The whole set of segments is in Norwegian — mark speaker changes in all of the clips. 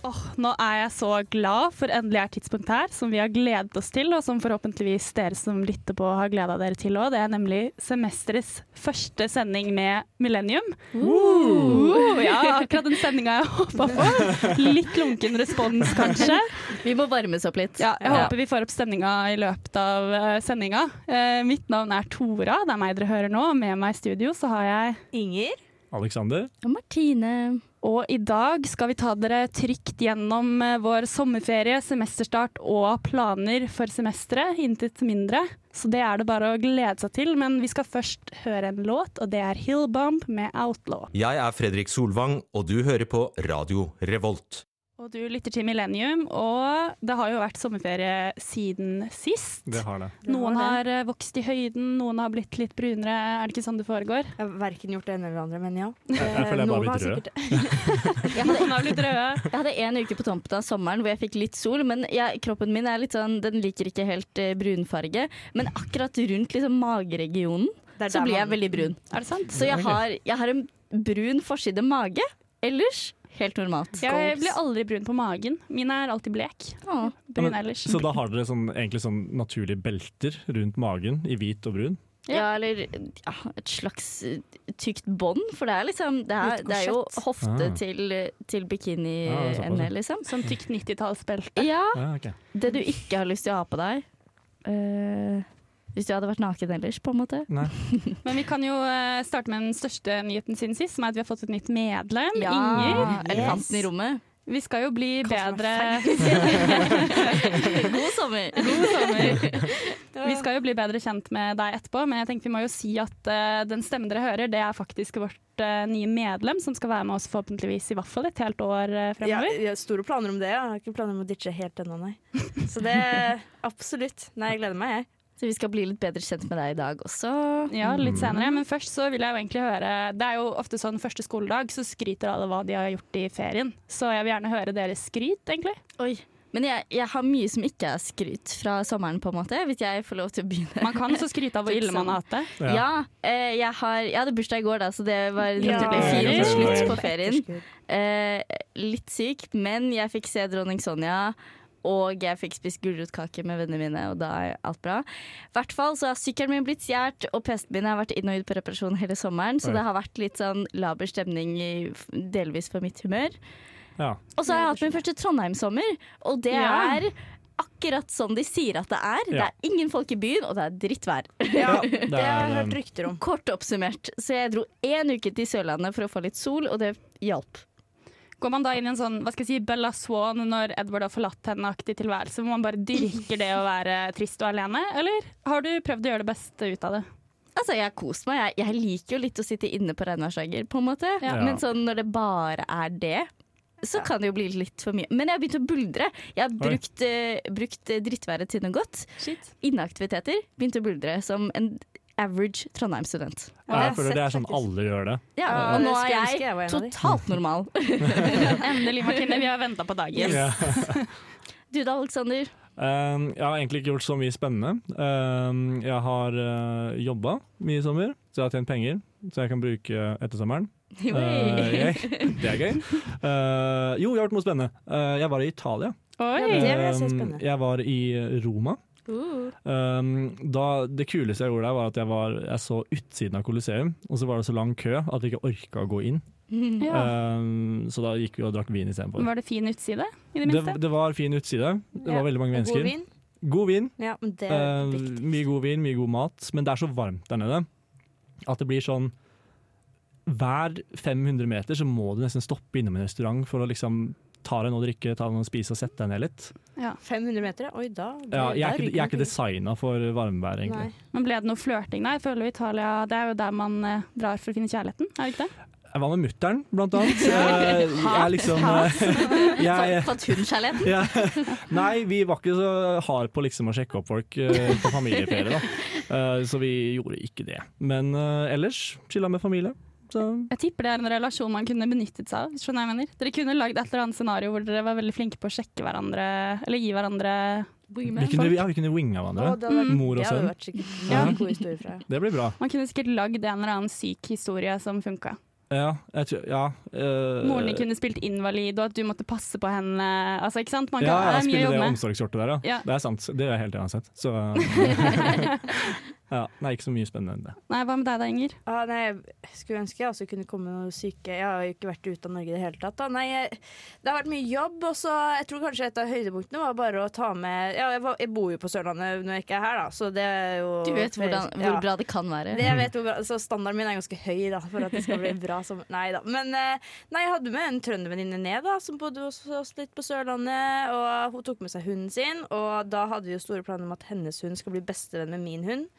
Speaker 1: Åh, nå er jeg så glad for endelig er tidspunktet her, som vi har gledet oss til, og som forhåpentligvis dere som lytter på har gleda dere til òg. Det er nemlig semesterets første sending med Millennium. Uh, ja, akkurat den sendinga jeg håpa på. Litt lunken respons, kanskje.
Speaker 2: Vi må varmes opp litt.
Speaker 1: Ja, jeg håper vi får opp stemninga i løpet av eh, sendinga. Eh, mitt navn er Tora, det er meg dere hører nå. Med meg i studio så har jeg
Speaker 3: Inger.
Speaker 4: Alexander?
Speaker 2: Og Martine.
Speaker 1: Og i dag skal vi ta dere trygt gjennom eh, vår sommerferie, semesterstart og planer for semesteret. Intet mindre. Så det er det bare å glede seg til. Men vi skal først høre en låt, og det er 'Hillbomb' med Outlaw.
Speaker 5: Jeg er Fredrik Solvang, og du hører på Radio Revolt.
Speaker 1: Og du lytter til Millennium, og det har jo vært sommerferie siden sist.
Speaker 4: Det har det.
Speaker 1: Noen har eh, vokst i høyden, noen har blitt litt brunere. Er det ikke sånn det foregår?
Speaker 3: Jeg har verken gjort det ene eller det andre, men ja.
Speaker 4: jeg føler jeg bare har blitt rød.
Speaker 2: Jeg
Speaker 1: Noen
Speaker 2: hadde,
Speaker 1: har blitt røde.
Speaker 2: jeg hadde en uke på tampen av sommeren hvor jeg fikk litt sol, men jeg, kroppen min er litt sånn, den liker ikke helt eh, brunfarge. Men akkurat rundt liksom, mageregionen
Speaker 3: Det
Speaker 2: så
Speaker 3: er der
Speaker 2: blir jeg
Speaker 3: man-
Speaker 2: veldig brun.
Speaker 1: Er det sant?
Speaker 2: Så jeg har, jeg har en brun forside mage. Ellers helt normalt.
Speaker 1: Jeg blir aldri brun på magen. Min er alltid blek.
Speaker 2: Å,
Speaker 1: Brun
Speaker 4: men-
Speaker 1: ellers.
Speaker 4: Så da har dere sånn, egentlig sånn naturlige belter rundt magen i hvit og brun.
Speaker 2: Ja, eller ja, et slags eh, tykt bånd, for det er liksom Det er,
Speaker 3: Litt
Speaker 2: det er jo
Speaker 3: korsett.
Speaker 2: hofte
Speaker 4: Ah.
Speaker 2: til, til
Speaker 4: Ah, såpass,
Speaker 2: bikiniende,
Speaker 4: ja.
Speaker 2: liksom.
Speaker 1: Sånn tykt 90-tallsbelte.
Speaker 2: Ja,
Speaker 4: Ja, ok.
Speaker 2: det du ikke har lyst til å ha på deg eh, Hvis du hadde vært naken ellers, på en måte.
Speaker 4: Nei.
Speaker 1: Men vi kan jo eh, starte med den største nyheten siden sist, som er at vi har fått et nytt medlem.
Speaker 2: Ja,
Speaker 1: Inger.
Speaker 2: Elefanten i rommet.
Speaker 1: Vi skal jo bli
Speaker 3: Kast meg
Speaker 1: bedre
Speaker 2: God sommer!
Speaker 1: God sommer. Vi skal jo bli bedre kjent med deg etterpå, men jeg tenkte vi må jo si at eh, den stemmen dere hører, det er faktisk vårt eh, nye medlem som skal være med oss forhåpentligvis i hvert fall et helt år eh,
Speaker 3: Ja,
Speaker 1: fremover.
Speaker 3: jeg har store planer om det. Jeg har ikke planer om å ditche helt ennå, nei. Så det absolutt. Nei, jeg gleder meg, jeg.
Speaker 2: Så vi skal bli litt bedre kjent med deg i dag også.
Speaker 1: Ja, litt senere. Men først så vil jeg jo egentlig høre Det er jo ofte sånn første skoledag, så skryter alle hva de har gjort i ferien. Så jeg vil gjerne høre deres skryt, egentlig.
Speaker 2: Oi. Men jeg, jeg har mye som ikke er skryt fra sommeren, på en måte. Hvis jeg får lov til å begynne.
Speaker 1: Man kan så skryte av hvor ille man har hatt det.
Speaker 2: Ja, eh, jeg, har, jeg hadde bursdag i går, da, så det var
Speaker 3: Ja.
Speaker 2: naturlig fire
Speaker 4: Gratulerer.
Speaker 2: slutt på ferien.
Speaker 3: Etterskudd.
Speaker 2: Eh, litt syk, men jeg fikk se Dronning Sonja. Og jeg fikk spist gulrotkake med vennene mine, og da er alt bra. I hvert fall så har sykkelen min blitt stjålet, og PC-en min har vært inn og ut på reparasjon hele sommeren, så
Speaker 4: Oi.
Speaker 2: det har vært litt sånn laber stemning i- delvis for mitt humør.
Speaker 4: Ja.
Speaker 2: Og så har jeg hatt min første Trondheimssommer, og det
Speaker 1: Ja.
Speaker 2: er akkurat sånn de sier at det er. Det
Speaker 4: Ja.
Speaker 2: er ingen folk i byen, og det er drittvær.
Speaker 3: Ja,
Speaker 4: Det
Speaker 3: det har jeg
Speaker 4: er, eh,
Speaker 3: hørt rykter om.
Speaker 2: Kort oppsummert, så jeg dro én uke til Sørlandet for å få litt sol, og det hjalp.
Speaker 1: Går man da inn i en sånn hva skal jeg si, Bella Swan når Edward har forlatt henne-aktig tilværelse, hvor man bare dyrker det å være trist og alene, eller har du prøvd å gjøre det beste ut av det?
Speaker 2: Altså, jeg har kost meg. Jeg, jeg liker jo litt å sitte inne på regnværsdager, på en måte.
Speaker 1: Ja.
Speaker 2: Men sånn når det bare er det, så kan det jo bli litt for mye. Men jeg har begynt å buldre. Jeg har
Speaker 4: Oi.
Speaker 2: brukt, eh, brukt eh, drittværet til noe godt.
Speaker 1: Shit.
Speaker 2: Inneaktiviteter. Begynt å buldre som en average Trondheim-student.
Speaker 3: Ja, det har
Speaker 4: jeg
Speaker 3: jeg
Speaker 4: føler det er
Speaker 3: sett,
Speaker 4: sånn
Speaker 3: faktisk.
Speaker 4: alle gjør det.
Speaker 2: Ja,
Speaker 3: Ja,
Speaker 2: og
Speaker 3: det
Speaker 2: nå
Speaker 3: skulle
Speaker 2: er
Speaker 3: jeg
Speaker 2: jeg
Speaker 3: ønske jeg var en av de.
Speaker 2: totalt normal.
Speaker 1: Endelig, Martine. Vi har venta på dagen.
Speaker 4: Ja.
Speaker 2: Du da, Aleksander?
Speaker 4: Um, jeg har egentlig ikke gjort så mye spennende. Um, jeg har uh, jobba mye i sommer, så jeg har tjent penger. Så jeg kan bruke etter sommeren. Eh,
Speaker 2: Oi.
Speaker 4: jeg- det er gøy. Eh, jo, jeg har gjort noe spennende. Eh, jeg var i Italia.
Speaker 1: Oi!
Speaker 3: Ja, det vil jeg si er
Speaker 4: Um,
Speaker 3: spennende.
Speaker 4: jeg var i eh, Roma.
Speaker 3: Uh.
Speaker 4: Um, da, det kuleste jeg gjorde der, var at jeg, var, jeg så utsiden av Colosseum. Og så var det så lang kø at vi ikke orka å gå inn.
Speaker 1: Ja.
Speaker 4: Um, så da gikk vi og drakk vin istedenfor.
Speaker 1: Var det fin utside, i det
Speaker 4: Det,
Speaker 1: minste?
Speaker 4: det var fin utside. Det
Speaker 3: Ja,
Speaker 4: var veldig mange
Speaker 3: Og god
Speaker 4: mennesker.
Speaker 3: vin.
Speaker 4: God vin.
Speaker 3: Ja, men det er
Speaker 4: Eh,
Speaker 3: viktig.
Speaker 4: mye god vin, mye god mat. Men det er så varmt der nede at det blir sånn Hver 500 meter så må du nesten stoppe innom en restaurant for å liksom ta deg noe å drikke, ta deg noe å spise og sette deg ned litt.
Speaker 3: 500 meter, ja. Oi, da.
Speaker 4: Ja,
Speaker 3: der
Speaker 4: jeg er ikke,
Speaker 3: ryker
Speaker 4: jeg er ikke
Speaker 3: noen
Speaker 4: designa for varmevær,
Speaker 3: penger.
Speaker 4: egentlig.
Speaker 3: Nei.
Speaker 1: Men ble det noe flørting der? Jeg føler jo Italia, det er jo der man eh, drar for å finne kjærligheten, er det ikke det?
Speaker 4: Jeg var med mutter'n, blant annet. Eh, Jeg er liksom eh, jeg,
Speaker 2: Fant hun kjærligheten?
Speaker 4: ja. Nei, vi var ikke så hard på liksom å sjekke opp folk eh, på familieferie, da. Eh, Så vi gjorde ikke det. Men eh, ellers chilla med familie. Så
Speaker 1: Jeg tipper det er en relasjon man kunne benyttet seg av. hvis du skjønner hva jeg mener. Dere kunne lagd et eller annet scenario hvor dere var veldig flinke på å sjekke hverandre, eller gi hverandre
Speaker 4: vi kunne, ja, vi kunne winga hverandre.
Speaker 3: det hadde vært,
Speaker 4: Mor og
Speaker 3: det hadde
Speaker 4: sønn.
Speaker 3: vært sikkert
Speaker 4: Ja.
Speaker 3: mange gode historier fra.
Speaker 4: Det blir bra.
Speaker 1: Man kunne sikkert lagd en eller annen syk historie som funka.
Speaker 4: Ja, jeg tror, ja eh,
Speaker 1: Moren din kunne spilt invalid, og at du måtte passe på henne. Altså, ikke sant? Man kan,
Speaker 4: ja,
Speaker 1: det er mye
Speaker 4: ja,
Speaker 1: å
Speaker 4: spille det
Speaker 1: jobbe med.
Speaker 4: omsorgshjortet der, ja.
Speaker 1: Ja.
Speaker 4: Det er sant. Det gjør jeg helt uansett. Så ja, Nei, ikke så mye spennende enn det.
Speaker 1: Nei, hva med deg da, Inger?
Speaker 3: Ah, nei, jeg skulle ønske jeg også kunne komme med noe syke Jeg har jo ikke vært ute av Norge i det hele tatt. Da. Nei, jeg, det har vært mye jobb, og så jeg tror kanskje et av høydepunktene var bare å ta med Ja, jeg, var, jeg bor jo på Sørlandet når jeg ikke er her, da, så det er jo
Speaker 2: Du vet hvordan,
Speaker 3: Ja.
Speaker 2: hvor bra det kan være.
Speaker 3: Det jeg vet hvor bra, så Standarden min er ganske høy da, for at det skal bli bra. Som, nei da. Men eh, nei, jeg hadde med en trøndervenninne ned, da, som bodde hos oss litt på Sørlandet. Og Hun tok med seg hunden sin, og da hadde vi jo store planer om at hennes hund skal bli bestevenn med min hund.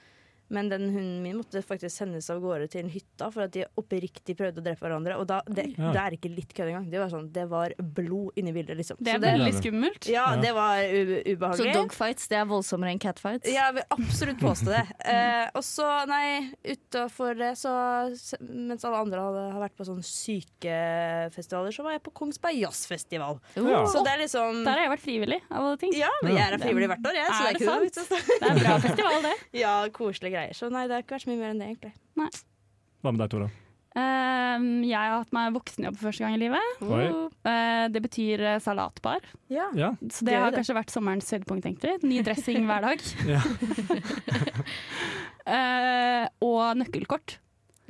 Speaker 3: Men den hunden min måtte faktisk sendes av gårde til en hytte for at de oppriktig prøvde å drepe hverandre. Og da, det,
Speaker 4: Ja.
Speaker 3: det er ikke litt kødd engang. Det var, sånn, det var blod inni bildet, liksom.
Speaker 1: Det er
Speaker 3: Så det,
Speaker 1: veldig skummelt.
Speaker 3: ja,
Speaker 4: Ja.
Speaker 3: det var u
Speaker 2: Så
Speaker 3: ubehagelig.
Speaker 2: dogfights det er voldsommere enn catfights?
Speaker 3: Ja, jeg vil absolutt påstå det. Eh, og så, nei, utafor det, så Mens alle andre hadde, har vært på sånne sykefestivaler, så var jeg på Kongsberg Jazzfestival.
Speaker 4: Ja.
Speaker 3: Så det er liksom
Speaker 1: Der har jeg vært frivillig, av alle ting.
Speaker 3: ja, men jeg er frivillig hvert år, jeg. Så det
Speaker 1: Er
Speaker 3: er
Speaker 1: det
Speaker 3: ikke noe vits å stå-
Speaker 1: Det er en bra festival, det.
Speaker 3: Ja, koselige greier. Så nei, det har ikke vært så mye mer enn det, egentlig.
Speaker 4: Hva med deg, Tora?
Speaker 1: Ehm, jeg har hatt meg voksenjobb for første gang i livet.
Speaker 4: Oi.
Speaker 1: Eh, det betyr eh, salatbar.
Speaker 3: Ja.
Speaker 4: Ja.
Speaker 1: Så det
Speaker 3: Gøy,
Speaker 1: har
Speaker 3: det.
Speaker 1: kanskje vært sommerens høydepunkt, egentlig. Ny dressing hver dag.
Speaker 4: Ja.
Speaker 1: Eh, og nøkkelkort.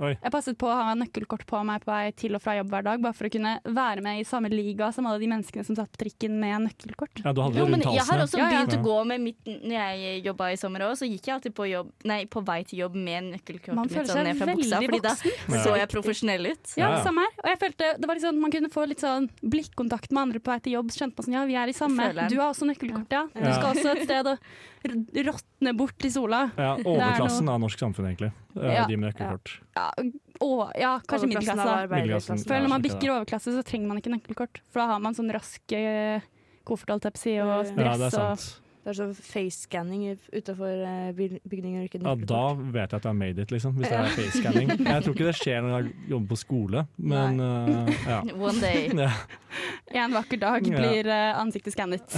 Speaker 4: Oi.
Speaker 1: Jeg passet på å ha nøkkelkort på meg på vei til og fra jobb hver dag, bare for å kunne være med i samme liga som alle de menneskene som satt på trikken med nøkkelkort.
Speaker 4: ja, du hadde
Speaker 2: Jo,
Speaker 4: det
Speaker 2: men
Speaker 4: rundt
Speaker 2: jeg har
Speaker 4: halsen.
Speaker 2: også
Speaker 1: Ja, ja.
Speaker 2: begynt å gå med mitt Når jeg jobba i sommer òg, så gikk jeg alltid på, jobb, nei, på vei til jobb med
Speaker 1: Man
Speaker 2: nøkkelkortet
Speaker 1: føler
Speaker 2: mitt sånn ned
Speaker 1: seg
Speaker 2: fra buksa,
Speaker 1: veldig
Speaker 2: fordi da
Speaker 1: voksen.
Speaker 4: Ja.
Speaker 2: så jeg profesjonell ut.
Speaker 1: Ja,
Speaker 4: Ja, ja.
Speaker 1: samme her. Og jeg følte det var liksom, Man kunne få litt sånn blikkontakt med andre på vei til jobb. Så Kjente man sånn, ja, vi er i samme.
Speaker 2: Føler den.
Speaker 1: Du har også nøkkelkort, ja. Du
Speaker 4: Ja.
Speaker 1: skal også et sted og r- råtne bort i sola.
Speaker 4: Ja, overklassen av norsk samfunn, egentlig. Eh,
Speaker 1: Ja.
Speaker 4: De med nøkkelkort.
Speaker 1: Ja, og, ja kanskje middelklasse. da.
Speaker 4: Middelklassen.
Speaker 1: For
Speaker 4: Ja,
Speaker 1: når man
Speaker 4: skjønte
Speaker 1: bikker overklasse, så trenger man ikke nøkkelkort. For da har man sånn rask eh, koffert, holdt jeg på å si, og
Speaker 3: Ja,
Speaker 4: Ja, det er
Speaker 1: dress og
Speaker 4: sant.
Speaker 3: Det er sånn face-scanning utafor bygninger og ikke
Speaker 4: Ja, da
Speaker 3: nøkkelkort. vet
Speaker 4: vet jeg at jeg har made it, liksom. Hvis det er face-scanning. Jeg tror ikke det skjer når jeg jobber på skole, men eh, ja.
Speaker 2: One day.
Speaker 4: ja.
Speaker 1: en vakker dag
Speaker 4: Ja.
Speaker 1: blir eh, ansiktet skannet.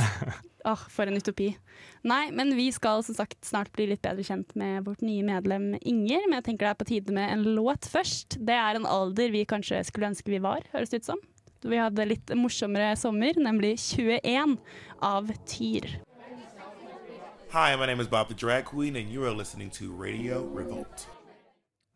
Speaker 1: Åh, for en utopi. Nei, men vi skal som sagt snart bli litt bedre kjent med vårt nye medlem Inger. Men jeg tenker det er på tide med en låt først. Det er en alder vi kanskje skulle ønske vi var, høres det ut som. Vi hadde litt morsommere sommer, nemlig 21 av Tyr.
Speaker 6: Hi, my name is Bob the Drag Queen, and you are listening to Radio Revolt.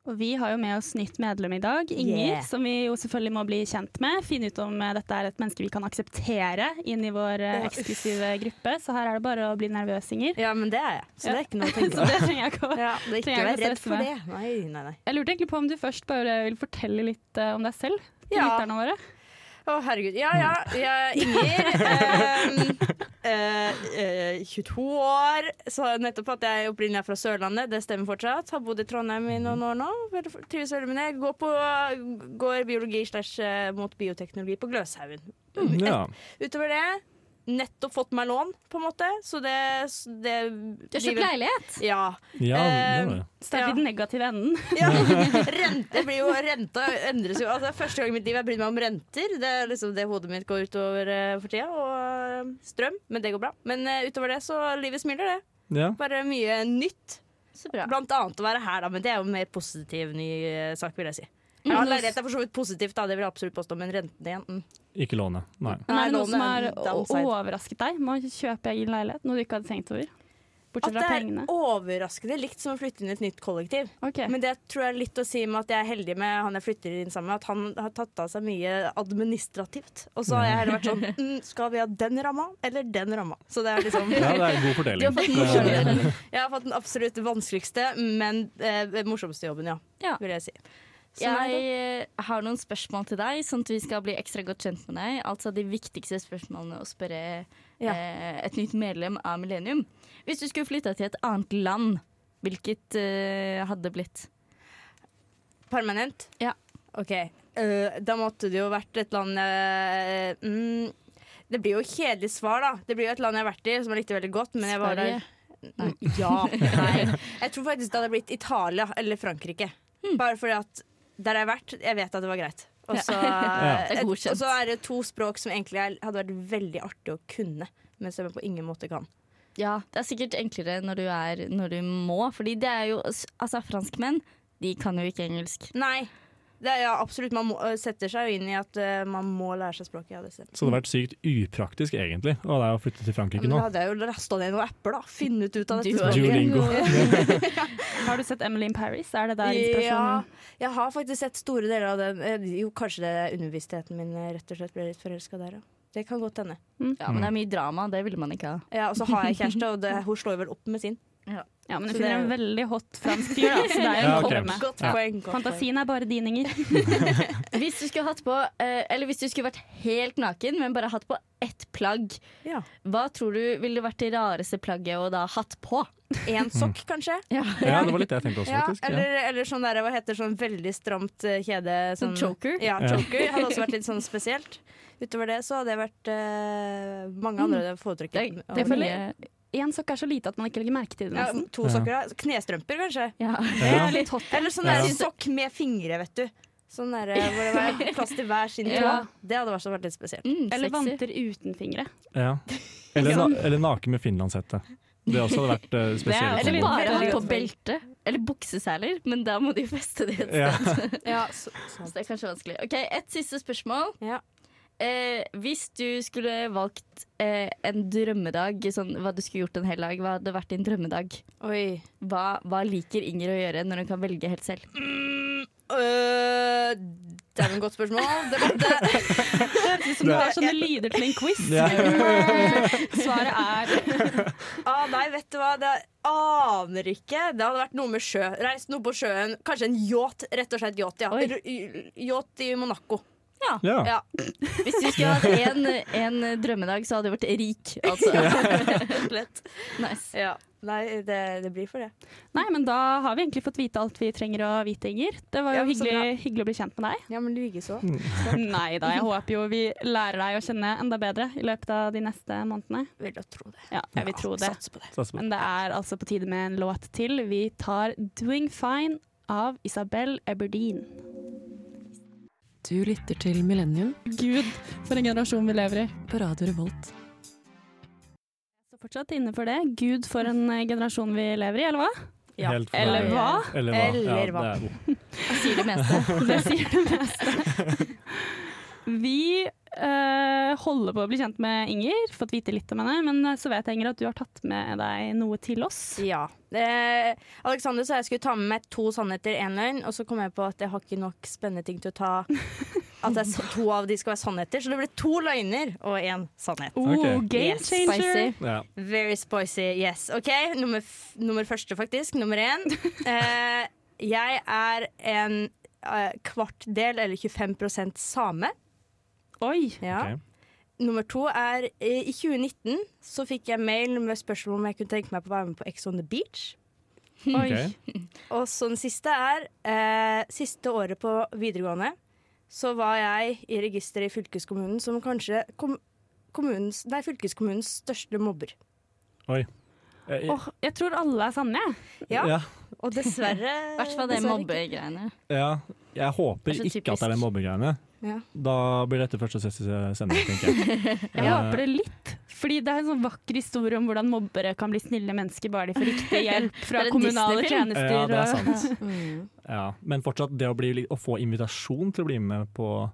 Speaker 1: Og vi har jo med oss nytt medlem i dag, Inger,
Speaker 3: Yeah.
Speaker 1: som vi jo selvfølgelig må bli kjent med. Finne ut om eh, dette er et menneske vi kan akseptere inn i vår eh,
Speaker 3: Ja, uff.
Speaker 1: eksklusive gruppe. Så her er det bare å bli nervøs, Inger.
Speaker 3: Ja, men det er jeg. Så
Speaker 1: Ja.
Speaker 3: det er ikke noe
Speaker 1: Så
Speaker 3: å tenke på.
Speaker 1: det trenger jeg ikke å
Speaker 3: Ja, det er
Speaker 1: Trenger
Speaker 3: ikke
Speaker 1: jeg
Speaker 3: vær
Speaker 1: å
Speaker 3: redd
Speaker 1: stresse
Speaker 3: for det.
Speaker 1: meg?
Speaker 3: Nei, nei, nei.
Speaker 1: Jeg lurte egentlig på om du først bare vil fortelle litt eh, om deg selv til
Speaker 3: Ja.
Speaker 1: lytterne våre.
Speaker 3: Å, herregud. Ja, ja. Jeg er Inger. eh, eh, eh, 22 år. Så nettopp at jeg opprinnelig er fra Sørlandet, det stemmer fortsatt. Har bodd i Trondheim i noen år nå. Veldig f- Trives veldig med det. Går, på, går biologi slash eh, mot bioteknologi på Gløshaugen.
Speaker 4: ja.
Speaker 3: Utover det nettopp fått meg lån, på en måte. Så det, det
Speaker 2: Du har kjøpt leilighet!
Speaker 3: Ja.
Speaker 4: ja det var det.
Speaker 1: Start i
Speaker 3: Ja.
Speaker 1: den negative enden.
Speaker 3: Ja, rente blir jo Renta endres jo. Altså, det er første gang i mitt liv jeg bryr meg om renter. Det er liksom det hodet mitt går utover eh, for tida. Og eh, strøm. Men det går bra. Men eh, utover det, så livet smiler, det.
Speaker 4: Ja.
Speaker 3: Bare mye nytt.
Speaker 2: Så bra.
Speaker 3: Blant annet å være her, da. Men det er jo en mer positiv ny eh, sak, vil jeg si. Ja,
Speaker 2: Mm.
Speaker 3: Leilighet er for så vidt positivt, da. Det vil jeg absolutt påstå. Men renten igjen mm.
Speaker 4: Ikke låne. Nei.
Speaker 1: Men er det noe
Speaker 3: lånet
Speaker 1: som
Speaker 3: er
Speaker 1: har
Speaker 3: en downside.
Speaker 1: o- overrasket deg med å kjøpe egen leilighet? Noe du ikke hadde tenkt over?
Speaker 3: At
Speaker 1: Bortsett
Speaker 3: det
Speaker 1: fra
Speaker 3: er
Speaker 1: pengene.
Speaker 3: overraskende likt som å flytte inn i et nytt kollektiv.
Speaker 1: Ok.
Speaker 3: Men det tror jeg er litt å si med at jeg er heldig med han jeg flytter inn sammen med, at han har tatt av seg mye administrativt. Og så har jeg heller vært sånn mm, Skal vi ha den ramma eller den ramma? Så det er liksom
Speaker 4: Ja, det er en god
Speaker 2: Du
Speaker 4: fordeling.
Speaker 2: har
Speaker 4: Eh,
Speaker 2: fått
Speaker 4: Det-
Speaker 2: morsomme deler.
Speaker 3: Jeg har fått den absolutt vanskeligste, men eh, morsomste jobben, ja.
Speaker 2: Ja.
Speaker 3: Vil jeg si. Så
Speaker 1: Sånn
Speaker 2: Jeg
Speaker 3: nei da.
Speaker 2: eh, har noen spørsmål til deg, sånn at vi skal bli ekstra godt kjent med deg. Altså de viktigste spørsmålene å spørre
Speaker 3: Ja.
Speaker 2: eh, et nytt medlem av Millennium. Hvis du skulle flytta til et annet land, hvilket eh, hadde blitt?
Speaker 3: Permanent?
Speaker 2: Ja.
Speaker 3: OK. Eh, da måtte det jo vært et land eh, mm, Det blir jo et kjedelig svar, da. Det blir jo et land jeg har vært i som jeg likte veldig godt, men jeg var der
Speaker 2: Sverige?
Speaker 3: Nei.
Speaker 2: Hmm.
Speaker 3: Ja. Nei. Jeg tror faktisk det hadde blitt Italia eller Frankrike. Bare fordi at der jeg har vært, jeg vet at det var greit. Og så
Speaker 2: Det er
Speaker 3: et-
Speaker 2: godkjent.
Speaker 3: og så er det to språk som egentlig er, hadde vært veldig artig å kunne, men som jeg på ingen måte kan.
Speaker 2: Ja, det er sikkert enklere når du, er, når du må, fordi det er jo Altså, franskmenn, de kan jo ikke engelsk.
Speaker 3: Nei. Det er, ja, absolutt. Man må, setter seg jo inn i at eh, man må lære seg språket. Ja, det stemmer.
Speaker 4: Så det hadde vært sykt upraktisk, egentlig, å være å flytte til Frankrike
Speaker 3: Men da
Speaker 4: nå.
Speaker 3: hadde jeg jo rasta ned noen apper, da. Funnet ut av dette
Speaker 2: Du-
Speaker 3: språket.
Speaker 4: Duolingo.
Speaker 1: Har du sett Emily in Paris? Er det der
Speaker 3: Ja,
Speaker 1: inspirasjonen
Speaker 3: jeg har faktisk sett store deler av den. eh, Jo, kanskje det er underbevisstheten min eh, rett og slett ble litt forelska der, ja. Det kan godt hende.
Speaker 2: Ja, Men det er mye drama, det ville man ikke ha.
Speaker 3: Ja, og så har jeg kjæreste, og det, hun slår vel opp med sin.
Speaker 1: Ja, men du
Speaker 3: Så det
Speaker 1: finner
Speaker 3: er
Speaker 1: en
Speaker 3: jo-
Speaker 1: veldig hot fransk fyr, da, så det er jo
Speaker 4: Ja,
Speaker 1: en
Speaker 4: ok.
Speaker 1: kolonne.
Speaker 3: Godt
Speaker 4: Ja.
Speaker 3: poeng. Godt poeng.
Speaker 1: Fantasien er bare din, Inger.
Speaker 2: Hvis du skulle hatt på eh, Eller hvis du skulle vært helt naken, men bare hatt på ett plagg,
Speaker 3: Ja.
Speaker 2: hva tror du ville vært det rareste plagget å da hatt på?
Speaker 3: En sokk, kanskje?
Speaker 4: Mm. Ja, det var litt det jeg tenkte også,
Speaker 3: Ja,
Speaker 4: faktisk. Ja.
Speaker 3: eller, eller sånn der, hva heter sånn veldig stramt eh, kjede
Speaker 2: Sånn
Speaker 3: sånn,
Speaker 2: choker?
Speaker 3: Ja,
Speaker 4: Ja.
Speaker 3: choker hadde også vært litt sånn spesielt. Utover det så hadde det vært eh, mange andre foretrekker.
Speaker 2: Det,
Speaker 3: Og-
Speaker 2: det
Speaker 1: føler
Speaker 2: føler
Speaker 1: jeg- En sokk er så lite at man ikke legger merke til det,
Speaker 3: ja,
Speaker 1: nesten.
Speaker 3: to sokker, da. Knestrømper, kanskje.
Speaker 2: Ja.
Speaker 4: Ja.
Speaker 1: Litt hot.
Speaker 3: Eller sånn
Speaker 4: Ja.
Speaker 3: der sokk med fingre, vet du. Sånn der, eh, hvor det var plass til hver sin tå.
Speaker 1: Ja.
Speaker 3: Det hadde også vært litt spesielt.
Speaker 2: Mm,
Speaker 1: Eller
Speaker 2: sexy.
Speaker 1: vanter uten fingre.
Speaker 4: Ja. Eller, na eller naken med finlandshette. Det også hadde vært eh, spesielt.
Speaker 1: også litt-
Speaker 4: for
Speaker 2: Eller
Speaker 4: meg.
Speaker 2: bare hatt
Speaker 1: Veldig
Speaker 2: på
Speaker 1: godt.
Speaker 2: belte. Eller buksesæler, men da må de feste det et sted.
Speaker 4: Ja.
Speaker 3: Ja, så,
Speaker 2: Så det er kanskje vanskelig. Ok, Et siste spørsmål.
Speaker 3: Ja.
Speaker 2: Eh, hvis du skulle valgt eh, en drømmedag, sånn, hva du skulle gjort en hel dag, hva hadde vært din drømmedag?
Speaker 3: Oi.
Speaker 2: Hva, hva liker Inger å gjøre når hun kan velge helt selv?
Speaker 3: Øh, det er et godt spørsmål. Det, det,
Speaker 1: Som du har sånne lyder til en quiz.
Speaker 4: Ja.
Speaker 1: Svaret er
Speaker 3: ah, nei, vet du hva? Det aner ikke. Det hadde vært noe med sjø. Reist noe på sjøen. Kanskje en yacht. Rett og slett yacht, ja.
Speaker 2: Oi.
Speaker 3: R- y- Yacht i Monaco.
Speaker 4: Ja.
Speaker 3: Ja.
Speaker 2: Hvis du skulle hatt en, en drømmedag, så hadde du vært rik, altså.
Speaker 3: Rett og slett.
Speaker 2: Nice.
Speaker 3: Ja. Nei, det, det blir for det.
Speaker 1: Nei, men da har vi egentlig fått vite alt vi trenger å vite, Inger. Det var jo
Speaker 3: Ja, så bra.
Speaker 1: hyggelig, hyggelig å bli kjent med deg.
Speaker 3: Ja, men likeså.
Speaker 1: Mm. Nei da, jeg håper jo vi lærer deg å kjenne enda bedre i løpet av de neste månedene.
Speaker 3: Vil da tro det.
Speaker 1: Ja, altså. jeg vil tro det.
Speaker 3: Satser på det.
Speaker 4: Satser på det.
Speaker 1: Men det er altså på tide med en låt til. Vi tar 'Doing Fine' av Isabel Eberdeen.
Speaker 7: Du lytter til Millennium
Speaker 1: Gud, for en generasjon vi lever i.
Speaker 7: på Radio Revolt.
Speaker 1: Så fortsatt innenfor det. Gud, for en eh, generasjon vi lever i, eller hva?
Speaker 3: Ja.
Speaker 4: Helt for
Speaker 1: Eller
Speaker 4: meg.
Speaker 1: hva?
Speaker 4: Eller hva?
Speaker 3: Eller hva?
Speaker 4: Ja, det er ord.
Speaker 2: Jeg sier det meste.
Speaker 1: Det sier det meste. Vi eh, holder på å bli kjent med Inger, fått vite litt om henne. Men eh, så vet jeg Inger, at du har tatt med deg noe til oss.
Speaker 3: Ja. Eh, Alexander sa jeg skulle ta med meg to sannheter, én løgn, og så kom jeg på at jeg har ikke nok spennende ting til å ta At det er så- to av de skal være sannheter, så det ble to løgner og én sannhet.
Speaker 1: Oh,
Speaker 4: Ok.
Speaker 1: game
Speaker 3: Yes,
Speaker 1: changer!
Speaker 2: Spicy.
Speaker 4: Ja.
Speaker 3: Very spicy, yes. OK, nummer, f nummer første, faktisk. Nummer én. Eh, jeg er en eh, kvart del, eller 25 same.
Speaker 1: Oi!
Speaker 3: Ja.
Speaker 4: Ok.
Speaker 3: Nummer to er eh, I 2019 så fikk jeg mail med spørsmål om jeg kunne tenke meg på å være med på Ex on the Beach.
Speaker 4: Ok.
Speaker 3: Og så den siste er eh, Siste året på videregående så var jeg i registeret i fylkeskommunen som kanskje kom, kommunens, nei, fylkeskommunens største mobber.
Speaker 4: Oi. Eh, eh,
Speaker 1: Åh, jeg tror alle er sanne. jeg.
Speaker 3: Ja,
Speaker 4: Ja.
Speaker 3: Og dessverre
Speaker 2: I hvert fall det
Speaker 3: dessverre ikke.
Speaker 2: mobbegreiene.
Speaker 4: ja. Jeg håper
Speaker 2: Det er så
Speaker 4: ikke at det er
Speaker 2: typisk.
Speaker 4: den mobbegreiene.
Speaker 3: Ja.
Speaker 4: Da blir dette første sending, tenker jeg. Eh,
Speaker 1: Jeg håper det litt. Fordi det er en sånn vakker historie om hvordan mobbere kan bli snille mennesker bare de får riktig hjelp fra
Speaker 2: Det er en
Speaker 1: kommunale
Speaker 2: Disney-film.
Speaker 1: tjenester.
Speaker 4: Ja, det er
Speaker 1: og-
Speaker 4: sant. Ja. Men fortsatt, det å, bli, å få invitasjon til å bli med på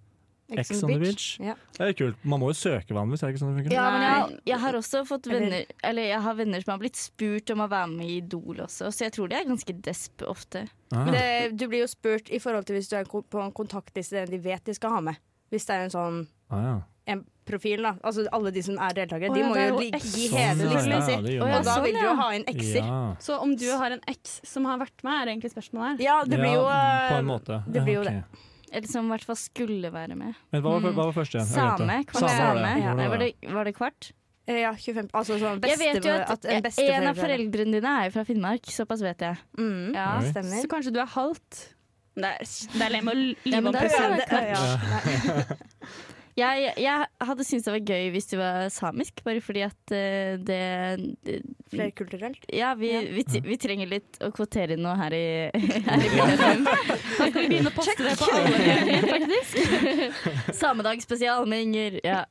Speaker 4: Ex on the Beach,
Speaker 3: Ja.
Speaker 4: det er kult. Man må jo søke vanligvis, er det ikke sånn det funker?
Speaker 2: Ja, men
Speaker 1: Nei.
Speaker 2: jeg, har- jeg har også fått
Speaker 3: Eller-
Speaker 2: venner Eller jeg har venner som har blitt spurt om å være med i Idol også, så jeg tror de er ganske desp ofte.
Speaker 4: Ah.
Speaker 3: Men det, du blir jo spurt i forhold til hvis du er ko- på en kontaktliste den de vet de skal ha med. Hvis det er en sånn
Speaker 4: Ah, ja.
Speaker 3: en profil, da. Altså alle de som er deltakere,
Speaker 1: Å
Speaker 3: de
Speaker 1: ja,
Speaker 3: må
Speaker 1: det er
Speaker 3: jo
Speaker 1: jo
Speaker 3: ligge
Speaker 1: X.
Speaker 3: i
Speaker 4: Sånn,
Speaker 3: hele
Speaker 4: ja,
Speaker 3: listen
Speaker 4: ja,
Speaker 3: sin.
Speaker 4: det gjør
Speaker 2: Og
Speaker 4: man.
Speaker 3: Og da
Speaker 2: sånn,
Speaker 3: vil du
Speaker 2: ja.
Speaker 3: jo ha inn ekser.
Speaker 4: Ja.
Speaker 1: Så om du har en eks som har vært med, er egentlig spørsmålet her.
Speaker 3: Ja, det blir jo
Speaker 4: ja, mm, På en
Speaker 3: eh,
Speaker 4: måte.
Speaker 3: det blir jo
Speaker 4: ok.
Speaker 3: det.
Speaker 2: Eller som i hvert fall skulle være med.
Speaker 4: Men hva var, hva var første igjen? Jeg glemte.
Speaker 2: Same? Kvart
Speaker 4: Same var det.
Speaker 2: same?
Speaker 4: Hvordan
Speaker 2: Nei,
Speaker 4: var
Speaker 2: var,
Speaker 4: det?
Speaker 2: det, var det kvart?
Speaker 3: Ja, 25 Altså sånn
Speaker 2: jeg
Speaker 3: beste,
Speaker 2: vet jo at,
Speaker 3: en
Speaker 2: en,
Speaker 3: besteforelder-
Speaker 2: av foreldrene dine er jo fra Finnmark, såpass vet jeg.
Speaker 3: Mm,
Speaker 2: Ja.
Speaker 4: Oi.
Speaker 1: Så
Speaker 3: stemmer.
Speaker 1: kanskje du er halvt. Det er, det er lenge å lyve
Speaker 2: men
Speaker 1: om
Speaker 2: det er-
Speaker 1: personen.
Speaker 2: det er-
Speaker 3: ja. Nei.
Speaker 2: Jeg, jeg hadde syntes det var gøy hvis du var samisk, bare fordi at eh, det
Speaker 3: Flerkulturelt.
Speaker 2: Ja, vi, vi, t- vi trenger litt å kvotere inn noe her i, her i
Speaker 1: Da skal vi begynne å poste det på alle regjeringer, faktisk.
Speaker 2: Samedag spesial med Inger. Ja.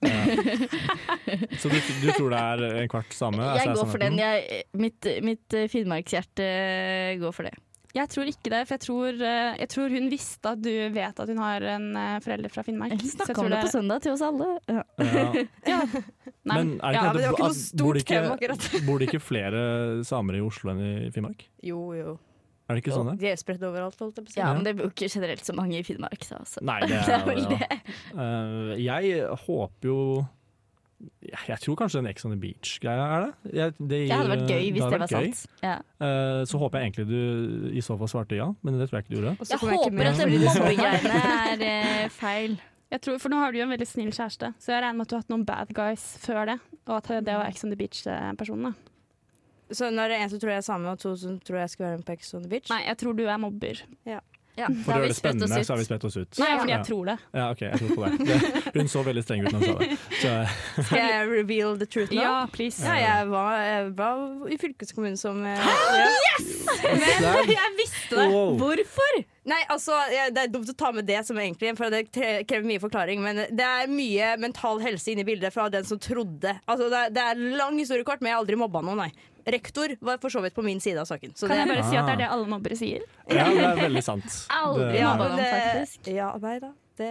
Speaker 4: Så du, du tror det er en kvart same? altså,
Speaker 2: Jeg
Speaker 4: er
Speaker 2: går for den.
Speaker 4: sannheten?
Speaker 2: Jeg, mitt mitt eh, finnmarkshjerte går for det.
Speaker 1: Jeg tror ikke det, for jeg tror, eh, jeg tror hun visste at du vet at hun har en eh, forelder fra Finnmark.
Speaker 2: Vi
Speaker 1: Så jeg
Speaker 2: snakka
Speaker 1: tror
Speaker 2: om det på søndag til oss alle. Ja.
Speaker 4: Ja.
Speaker 1: Nei,
Speaker 4: Men er det
Speaker 1: ja,
Speaker 4: ikke,
Speaker 3: men det var ikke noe
Speaker 4: at- bor det
Speaker 3: stort tema akkurat.
Speaker 4: Bor det ikke flere samer i Oslo enn i Finnmark?
Speaker 3: Jo, jo.
Speaker 4: Er det ikke sånn det?
Speaker 3: De er spredt overalt. Holdt jeg på å si.
Speaker 2: ja, men det bor ikke generelt så mange i Finnmark, sa også.
Speaker 4: Nei, det
Speaker 2: Det er vel
Speaker 4: ja.
Speaker 2: det.
Speaker 4: Eh, jeg håper jo Jeg tror kanskje den Ex on the Beach-greia er det. Jeg, det
Speaker 2: Det
Speaker 4: gir-
Speaker 2: hadde vært gøy hvis
Speaker 4: hadde
Speaker 2: det
Speaker 4: vært
Speaker 2: var
Speaker 4: gøy.
Speaker 2: sant. Ja.
Speaker 4: Eh, så håper jeg egentlig du i så fall svarte ja, men det tror jeg ikke du gjorde.
Speaker 3: Og så
Speaker 2: Jeg
Speaker 3: kommer ikke
Speaker 2: håper
Speaker 3: med,
Speaker 2: at
Speaker 1: sånn
Speaker 3: fordi
Speaker 2: den
Speaker 3: det-
Speaker 2: mobbegreiene er eh, feil.
Speaker 1: Jeg tror, for nå har du jo en veldig snill kjæreste, så jeg regner med at du har hatt noen bad guys før det. Og at det var Ex on the Beach-personen. da.
Speaker 3: Så når det er en som tror jeg er same, og to som tror jeg skal være en på Ex on the Beach
Speaker 1: Nei, jeg tror du er mobber.
Speaker 2: Ja,
Speaker 4: For
Speaker 2: da
Speaker 4: å
Speaker 2: har
Speaker 4: gjøre
Speaker 2: vi
Speaker 4: det
Speaker 2: spett oss
Speaker 4: spennende, så har vi
Speaker 2: ut.
Speaker 4: spredt oss ut.
Speaker 1: Nei, fordi
Speaker 4: Ja.
Speaker 1: jeg tror det.
Speaker 4: Ja, ok, jeg tror på det. det. Hun så veldig streng ut når hun sa det. Så,
Speaker 3: Skal jeg reveal the truth nå?
Speaker 1: Ja, please.
Speaker 3: Ja, jeg var, jeg var i fylkeskommunen som eh, ja.
Speaker 1: Jeg visste det!
Speaker 4: wow.
Speaker 2: Hvorfor?
Speaker 3: Nei, altså, jeg, Det er dumt å ta med det som egentlig, for det tre- krever mye forklaring. Men det er mye mental helse inne i bildet fra den som trodde. Altså, Det er, det er lang historiekort, men jeg har aldri mobba noen, nei. Rektor var for så vidt på min side av saken. Så
Speaker 1: Kan
Speaker 3: det,
Speaker 1: jeg bare si at det er det alle mobbere sier?
Speaker 4: Ja, det er veldig sant.
Speaker 2: Aldri
Speaker 4: Det-
Speaker 3: ja,
Speaker 2: mobba
Speaker 3: men
Speaker 2: noen, faktisk.
Speaker 3: det, ja, nei da. Det,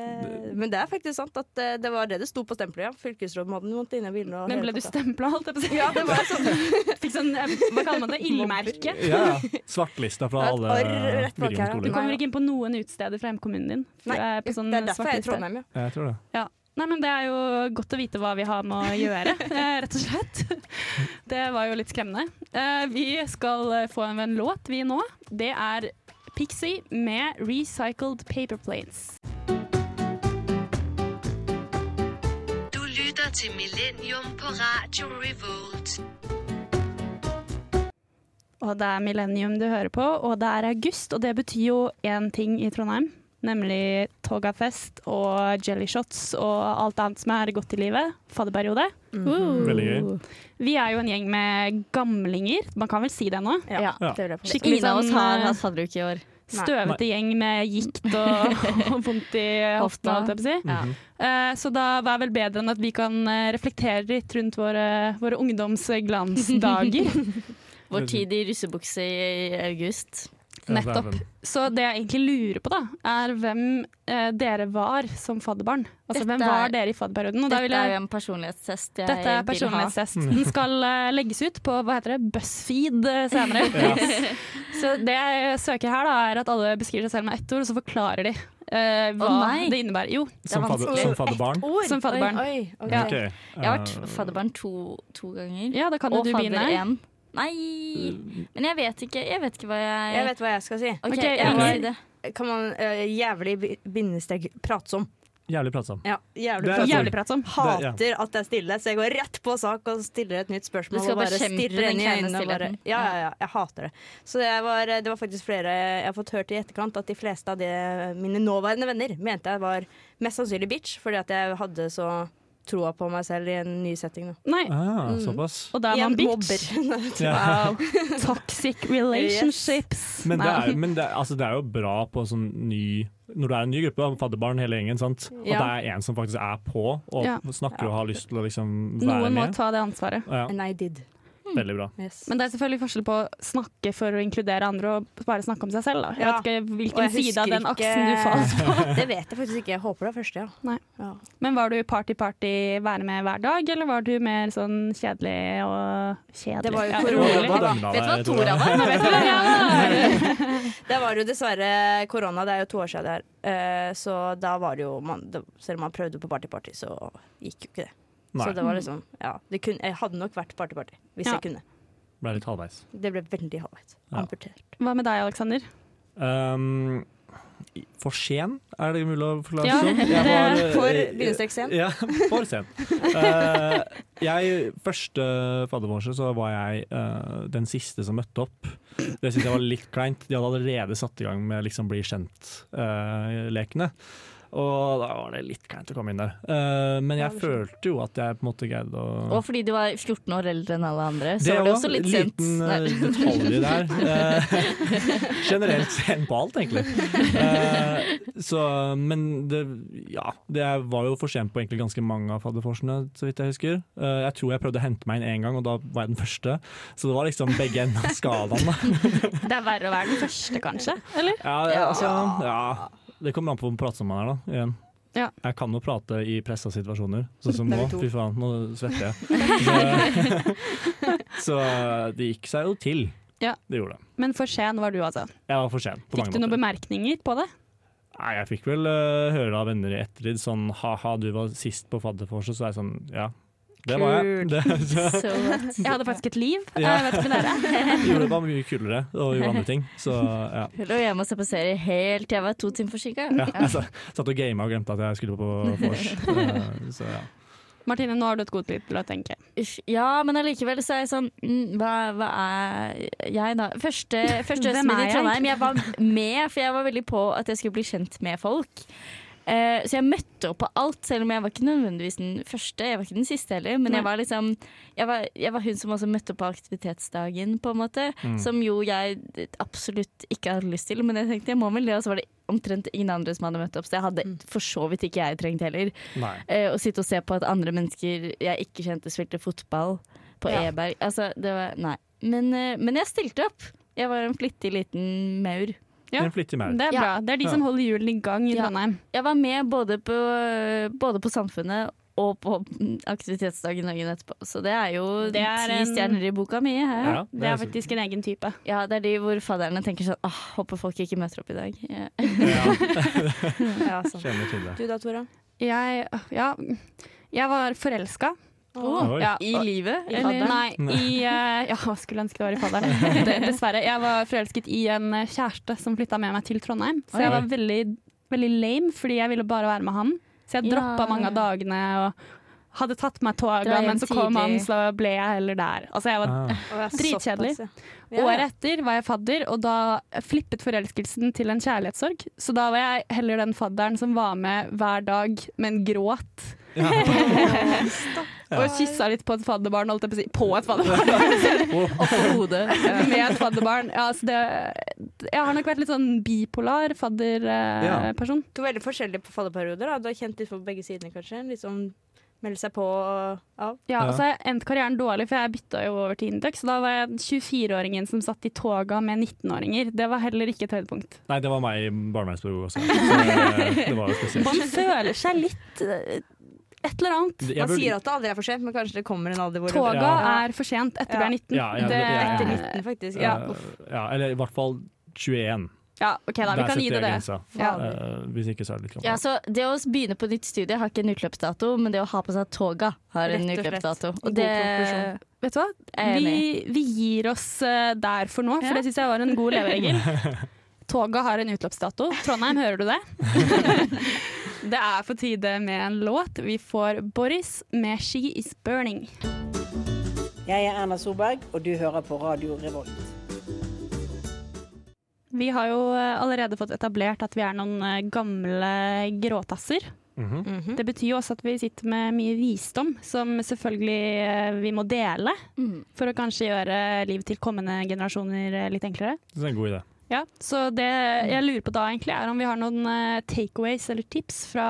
Speaker 3: men det er faktisk sant at eh, det var det det sto på stempelet. Ja. Fylkesrådmannen måtte inne i bildet. og
Speaker 1: Men
Speaker 3: hele
Speaker 1: ble du
Speaker 3: pakka.
Speaker 1: stempla, holdt jeg på å si?
Speaker 3: Ja, det var sånn
Speaker 1: Fikk sånn, eh, hva kaller man det, ildmerke?
Speaker 4: Ja, ja. Svartlista fra
Speaker 3: Et
Speaker 4: alle
Speaker 3: arr rett bak her, ja.
Speaker 1: Du
Speaker 4: videregående skoler.
Speaker 1: kommer ikke inn på noen utesteder fra hjemkommunen din. For
Speaker 3: Nei,
Speaker 1: du er på sånn
Speaker 3: Det er derfor jeg er i
Speaker 1: svartliste.
Speaker 3: Trondheim, ja.
Speaker 4: Jeg tror det.
Speaker 1: Ja. Nei, men Det er jo godt å vite hva vi har med å gjøre, eh, rett og slett. Det var jo litt skremmende. Eh, Vi skal eh, få en låt, vi nå. Det er Pixie med 'Recycled Paper Planes'.
Speaker 8: Du lytter til Millennium på Radio Revolt.
Speaker 1: Og det er Millennium du hører på, og det er august, og det betyr jo én ting i Trondheim. Nemlig Togafest og Jellyshots og alt annet som er godt i livet. Fadderperiode.
Speaker 4: Mm-hmm. Veldig gøy.
Speaker 1: Vi er jo en gjeng med gamlinger, man kan vel si det nå?
Speaker 3: Ja,
Speaker 2: Ja.
Speaker 3: Det vil jeg påstå.
Speaker 1: Skikkelig
Speaker 2: Ingen av oss
Speaker 1: sånn,
Speaker 2: har
Speaker 1: eh,
Speaker 2: hatt fadderuke i år.
Speaker 1: Støvete gjeng med gikt og, og vondt i hofta.
Speaker 2: Hofta.
Speaker 1: holdt jeg på å si.
Speaker 4: Mhm.
Speaker 2: Ja.
Speaker 1: Eh, Så da hva er vel bedre enn at vi kan eh, reflektere litt rundt våre, våre ungdomsglansdager.
Speaker 2: Vår tid i russebukse i august.
Speaker 1: Nettopp. Så det jeg egentlig lurer på, da, er hvem eh, dere var som fadderbarn. Altså
Speaker 2: Dette
Speaker 1: hvem var
Speaker 2: er-
Speaker 1: dere i fadderperioden? Og da
Speaker 2: Dette
Speaker 1: vil
Speaker 2: er jo
Speaker 1: jeg,
Speaker 2: en personlighetstest jeg
Speaker 1: dette er
Speaker 2: vil ha.
Speaker 1: personlighetstest. Den skal eh, legges ut på hva heter det, BuzzFeed eh, senere. Så det jeg søker her, da, er at alle beskriver seg selv med ett ord, og så forklarer de eh, hva
Speaker 2: nei.
Speaker 1: det innebærer. Jo,
Speaker 4: Som, fadder,
Speaker 2: vanskelig.
Speaker 4: som fadderbarn.
Speaker 3: Ord.
Speaker 1: som fadderbarn.
Speaker 3: Oi, oi, ok.
Speaker 1: Ja.
Speaker 4: Ok,
Speaker 2: Jeg har vært
Speaker 4: eh,
Speaker 2: fadderbarn to, to ganger.
Speaker 1: Ja, da kan jo
Speaker 2: og
Speaker 1: du begynne.
Speaker 2: fadder én. Nei,
Speaker 4: Eh,
Speaker 2: men jeg vet ikke, jeg vet ikke hva jeg
Speaker 3: Jeg vet hva jeg skal si.
Speaker 2: Ok,
Speaker 1: Ok,
Speaker 2: jeg må
Speaker 1: Inger.
Speaker 2: si det.
Speaker 3: Kan man eh, jævlig bi- bindestrek pratsom.
Speaker 4: Jævlig pratsom.
Speaker 3: Ja, jævlig
Speaker 4: Det er-
Speaker 3: pratsom.
Speaker 1: Jævlig pratsom.
Speaker 4: Det- ja.
Speaker 3: Hater at det er stille, så jeg går rett på sak og stiller et nytt spørsmål.
Speaker 2: Du skal
Speaker 3: og bare
Speaker 2: bekjempe
Speaker 3: stirrer
Speaker 2: den
Speaker 3: inn i
Speaker 2: kleine
Speaker 3: øynene og bare-
Speaker 2: stillheten.
Speaker 3: Ja, ja, ja, jeg hater det. Så jeg var, det var faktisk flere jeg har fått hørt i etterkant, at de fleste av de, mine nåværende venner mente jeg var mest sannsynlig bitch, fordi at jeg hadde så troa på meg selv i en ny setting. Da.
Speaker 1: Nei,
Speaker 4: Ah, såpass.
Speaker 1: og da er
Speaker 3: Jeg
Speaker 1: man bitch.
Speaker 3: mobber.
Speaker 4: Ja.
Speaker 1: Wow. Toxic relationships.
Speaker 4: Men, det
Speaker 1: Nei.
Speaker 4: er, men det, er- altså det er jo bra på sånn ny Når det er en ny gruppe, da, fadderbarn hele gjengen, sant?
Speaker 3: Ja.
Speaker 4: at det er en som faktisk er på og
Speaker 1: Ja.
Speaker 4: snakker og har lyst til å liksom være
Speaker 1: Noen må
Speaker 4: med.
Speaker 1: ta det ansvaret.
Speaker 4: Ja,
Speaker 3: And I did.
Speaker 4: veldig bra.
Speaker 3: Yes.
Speaker 1: Men det er selvfølgelig forskjell på å snakke for å inkludere andre og bare snakke om seg selv. Da. Jeg
Speaker 3: Ja.
Speaker 1: vet ikke
Speaker 3: Og
Speaker 1: hvilken
Speaker 3: jeg
Speaker 1: side av
Speaker 3: husker
Speaker 1: den aksen
Speaker 3: ikke-
Speaker 1: du falt på.
Speaker 3: Det vet jeg faktisk ikke. Jeg håper det er første, ja.
Speaker 1: Nei.
Speaker 3: ja.
Speaker 1: Men var du party-party, være med hver dag, eller var du mer sånn kjedelig og kjedelig?
Speaker 3: Det var jo
Speaker 1: Ja,
Speaker 4: Det var- det
Speaker 3: korona,
Speaker 4: var
Speaker 3: da.
Speaker 4: dømmende av
Speaker 2: Vet du hva
Speaker 4: deg, tror
Speaker 2: Tora
Speaker 4: jeg.
Speaker 2: var?
Speaker 1: Vet du hva? Ja.
Speaker 3: Det var jo dessverre korona, det er jo to år siden det er. Eh, Så da var det jo man, det, Selv om man prøvde på party-party, så gikk jo ikke det. Så
Speaker 4: Nei,
Speaker 3: det var liksom Ja. Det kunne, jeg hadde nok vært party-party hvis
Speaker 1: Ja.
Speaker 3: jeg kunne.
Speaker 4: ble litt halvveis.
Speaker 3: Det ble veldig halvveis.
Speaker 4: Ja.
Speaker 3: Amputert.
Speaker 1: Hva med deg, Aleksander?
Speaker 4: Um, i- for sen, er det mulig å forklare
Speaker 1: Ja,
Speaker 4: sånn? Jeg
Speaker 1: det-
Speaker 4: eh,
Speaker 3: For bindestrekkscenen.
Speaker 4: Ja, for sen. Eh, jeg, første fadderbarnet så var jeg eh, den siste som møtte opp. Det syntes jeg var litt kleint. De hadde allerede satt i gang med liksom bli kjent-lekene. eh, Og da var det litt kleint å komme inn der. Eh, men jeg følte jo at jeg på en måte greide å
Speaker 2: Og fordi du var 14 år eldre enn alle andre,
Speaker 4: eh,
Speaker 2: så
Speaker 4: Det
Speaker 2: var det
Speaker 4: også,
Speaker 2: også litt sent.
Speaker 4: Liten eh,
Speaker 2: Nei.
Speaker 4: detalj der. Eh, generelt sent på alt, egentlig. Eh, så, men det, ja, det var jo for sent på egentlig ganske mange av fadderforsene, så vidt jeg husker. Eh, jeg tror jeg prøvde å hente meg inn én gang, og da var jeg den første. Så det var liksom begge ender av skalaen. da.
Speaker 1: Det er verre å være den første, kanskje? Eller?
Speaker 4: Ja, ja, altså, ja. Det kommer an på hvor pratsom man er, da. Igjen.
Speaker 1: Ja.
Speaker 4: Jeg kan jo prate i pressa situasjoner, sånn som nå. Fy faen, nå svetter jeg. Så, så det gikk seg jo til.
Speaker 1: Ja.
Speaker 4: Det gjorde det.
Speaker 1: Men for sen var du, altså.
Speaker 4: Jeg var for sen. På
Speaker 1: Fikk
Speaker 4: mange
Speaker 1: du noen
Speaker 4: måter.
Speaker 1: bemerkninger på det?
Speaker 4: Nei, jeg fikk vel eh, høre av venner i ettertid sånn ha-ha, du var sist på fadderforset, så er jeg sånn ja. Det var jeg. Det, så,
Speaker 2: Så what?
Speaker 1: Jeg hadde faktisk et liv.
Speaker 4: Ja.
Speaker 1: Jeg vet ikke med dere.
Speaker 4: gjorde det bare mye kulere og gjorde andre ting. Så ja.
Speaker 2: Jeg lå hjemme og så på serie helt til jeg var to timer forsinka.
Speaker 4: ja jeg sa- satt og gama og glemte at jeg skulle på vors. Eh, Så ja.
Speaker 1: Martine, nå har du et godt liv til å tenke.
Speaker 2: Uff, Ja, men allikevel så er jeg sånn mm, hva, hva er Eh, jeg, da? Første, første
Speaker 1: Hvem
Speaker 2: høsten min
Speaker 1: er
Speaker 2: i
Speaker 1: jeg?
Speaker 2: Trondheim. Jeg var med, for jeg var veldig på at jeg skulle bli kjent med folk. Eh, så jeg møtte opp på alt, selv om jeg var ikke nødvendigvis den første. Jeg var ikke den siste heller, men jeg var liksom jeg var, jeg var hun som også møtte opp på aktivitetsdagen, på en måte. Som jo jeg absolutt ikke hadde lyst til, men jeg tenkte jeg må vel det. Og så var det omtrent ingen andre som hadde møtt opp, så jeg hadde for så vidt ikke jeg trengt heller.
Speaker 4: Nei.
Speaker 2: Eh, Å sitte og se på at andre mennesker jeg ikke kjente spilte fotball på Eberg. Altså, det var Nei. Men, eh, men jeg stilte opp. Jeg var en flittig liten maur.
Speaker 1: Ja.
Speaker 4: En flittig maur.
Speaker 1: Det er
Speaker 2: Ja.
Speaker 1: bra. Det er de som holder hjulene i gang i
Speaker 2: Ja.
Speaker 1: Trondheim.
Speaker 2: Jeg var med både på, både på Samfunnet og på mm, aktivitetsdagen dagen etterpå. Så det er jo
Speaker 1: Det er
Speaker 2: ti
Speaker 1: en-
Speaker 2: stjerner i boka mi. Her. Ja.
Speaker 4: Ja,
Speaker 1: Det er
Speaker 4: så-
Speaker 1: faktisk en egen type.
Speaker 2: det er de hvor fadderne tenker sånn Åh, håper folk ikke møter opp i dag. Ja.
Speaker 3: Ja, sant.
Speaker 4: Kjenner til det.
Speaker 3: Du da, Tora?
Speaker 1: Jeg, ja, jeg var forelska.
Speaker 4: Oi.
Speaker 1: Ja,
Speaker 2: I livet?
Speaker 1: eller-
Speaker 2: Eller?
Speaker 1: Nei, i eh, Ja, hva skulle ønske det var i fadderen. Det- Dessverre. Jeg var forelsket i en eh, kjæreste som flytta med meg til Trondheim. Så jeg
Speaker 4: Oi.
Speaker 1: var veldig, veldig lame, fordi jeg ville bare være med han. Så jeg
Speaker 2: Ja.
Speaker 1: droppa mange av dagene og hadde tatt meg
Speaker 2: Dra
Speaker 1: toga,
Speaker 2: hjem
Speaker 1: men så kom han,
Speaker 2: tidlig.
Speaker 1: så ble jeg heller der. Altså, jeg var
Speaker 4: Ah.
Speaker 1: Dritkjedelig. Året etter var jeg fadder, og da flippet forelskelsen til en kjærlighetssorg. Så da var jeg heller den fadderen som var med hver dag, men gråt. og kyssa litt på et fadderbarn, holdt jeg på å si. På et fadderbarn!
Speaker 2: Hodet.
Speaker 1: med et fadderbarn. Ja, altså det, jeg har nok vært litt sånn bipolar
Speaker 4: Ja.
Speaker 1: fadderperson.
Speaker 3: To veldig forskjellige fadderperioder. Da. Du har kjent litt på begge sidene, kanskje. Litt sånn melde seg på og av.
Speaker 1: Ja,
Speaker 4: Ja.
Speaker 1: og så har jeg endt karrieren dårlig, for jeg bytta jo over til Induc. Så da var jeg 24-åringen som satt i toga med 19-åringer. Det var heller ikke et høydepunkt.
Speaker 4: Nei, det var meg i barnevernsbyrået også. Så det var jo spesielt.
Speaker 1: Man føler seg litt eh, et eller annet.
Speaker 4: Jeg
Speaker 3: Man
Speaker 4: burde-
Speaker 3: sier at det aldri er for sent, men kanskje det kommer en alder hvor
Speaker 1: Toga
Speaker 3: Ja.
Speaker 1: er for sent etter
Speaker 3: Ja.
Speaker 1: vi er 19.
Speaker 4: Ja, ja,
Speaker 1: det,
Speaker 4: det- ja, ja.
Speaker 3: Etter
Speaker 1: ja,
Speaker 3: 19, faktisk.
Speaker 4: Eh,
Speaker 3: Ja.
Speaker 4: ja, eller i hvert fall 21.
Speaker 1: OK, da. Vi
Speaker 4: Der
Speaker 1: kan
Speaker 4: setter
Speaker 1: gi det
Speaker 4: jeg
Speaker 1: det.
Speaker 4: grensa.
Speaker 1: Ja.
Speaker 4: Eh, hvis ikke, så er det litt
Speaker 2: Ja,
Speaker 4: gammelt.
Speaker 2: så Det å begynne på nytt studie har ikke en utløpsdato, men det å ha på seg toga har en
Speaker 3: Rett og slett.
Speaker 2: utløpsdato.
Speaker 3: En god
Speaker 2: Og det
Speaker 3: konklusjon.
Speaker 1: Vet du hva? Eh,
Speaker 2: er jeg
Speaker 1: Vi,
Speaker 2: enig i.
Speaker 1: vi gir oss eh, der for nå, for det syns jeg var en god leveregel. Toga har en utløpsdato. Trondheim, hører du det? det er på tide med en låt. Vi får Boris med 'She Is Burning'.
Speaker 9: Jeg er Erna Solberg, og du hører på Radio Revolt.
Speaker 1: Vi har jo eh, allerede fått etablert at vi er noen eh, gamle gråtasser.
Speaker 4: Mhm.
Speaker 1: Det betyr jo også at vi sitter med mye visdom, som selvfølgelig eh, vi må dele.
Speaker 2: Mm.
Speaker 1: For å kanskje gjøre liv til kommende generasjoner eh, litt enklere.
Speaker 4: Så det er en god idé.
Speaker 1: Ja, Så det jeg lurer på da egentlig, er om vi har noen eh, takeaways eller tips fra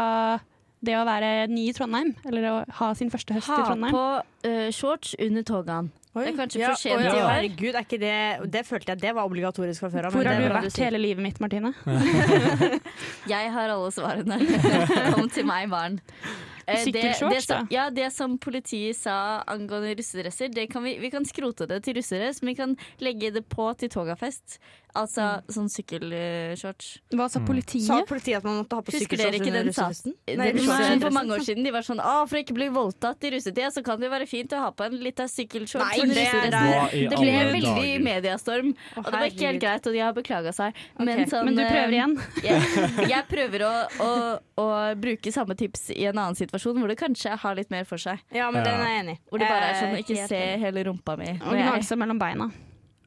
Speaker 1: det å være ny i Trondheim, eller å ha sin første høst i
Speaker 2: Ha
Speaker 1: Trondheim.
Speaker 2: på eh, shorts under togaen.
Speaker 3: Oi.
Speaker 2: Det er kanskje
Speaker 3: Ja,
Speaker 2: for sent
Speaker 3: og-
Speaker 4: i år.
Speaker 3: Herregud, er ikke det Det følte jeg det var obligatorisk fra før av. men
Speaker 1: Hvor
Speaker 3: det
Speaker 1: har
Speaker 3: er
Speaker 1: du
Speaker 3: bra
Speaker 1: vært
Speaker 3: sier.
Speaker 1: hele livet mitt, Martine?
Speaker 2: Jeg har alle svarene. Kom til meg, barn. Eh, det-
Speaker 1: Sykkelshorts,
Speaker 2: det som-
Speaker 1: da?
Speaker 2: Ja, det som politiet sa angående russedresser, det kan vi, vi kan skrote det til russedress, men vi kan legge det på til togafest.
Speaker 3: Mm.
Speaker 2: Altså sånn sykkelshorts.
Speaker 1: Hva
Speaker 4: Mm.
Speaker 1: sa politiet?
Speaker 3: Sa politiet at man måtte ha på
Speaker 2: Husker dere
Speaker 3: sykkelshorts
Speaker 2: ikke
Speaker 3: under
Speaker 2: den
Speaker 3: russefesten?
Speaker 2: saken?
Speaker 3: Nei,
Speaker 2: Den
Speaker 3: russefesten.
Speaker 2: saken for mange år siden. De var sånn Å, for å ikke bli voldtatt i russetida, så kan det jo være fint å ha på en liten sykkelshorts.
Speaker 3: Nei,
Speaker 2: under
Speaker 3: det er
Speaker 2: russedressen».
Speaker 4: Hva i
Speaker 2: det ble
Speaker 4: alle
Speaker 2: veldig
Speaker 4: dager?
Speaker 2: mediestorm, og det var ikke helt
Speaker 3: herregud.
Speaker 2: greit, og de har beklaga seg. Men,
Speaker 3: Ok,
Speaker 2: sånn,
Speaker 1: Men du prøver
Speaker 2: eh,
Speaker 1: igjen.
Speaker 2: jeg, jeg prøver å, å, å bruke samme tips i en annen situasjon hvor det kanskje har litt mer for seg.
Speaker 3: Ja, men
Speaker 4: Ja.
Speaker 3: den er jeg enig i.
Speaker 2: Hvor det bare er sånn
Speaker 3: Eh,
Speaker 2: ikke
Speaker 3: helt
Speaker 2: se
Speaker 3: enig.
Speaker 2: hele rumpa mi.
Speaker 1: Og
Speaker 2: når jeg-
Speaker 1: gnag seg mellom beina.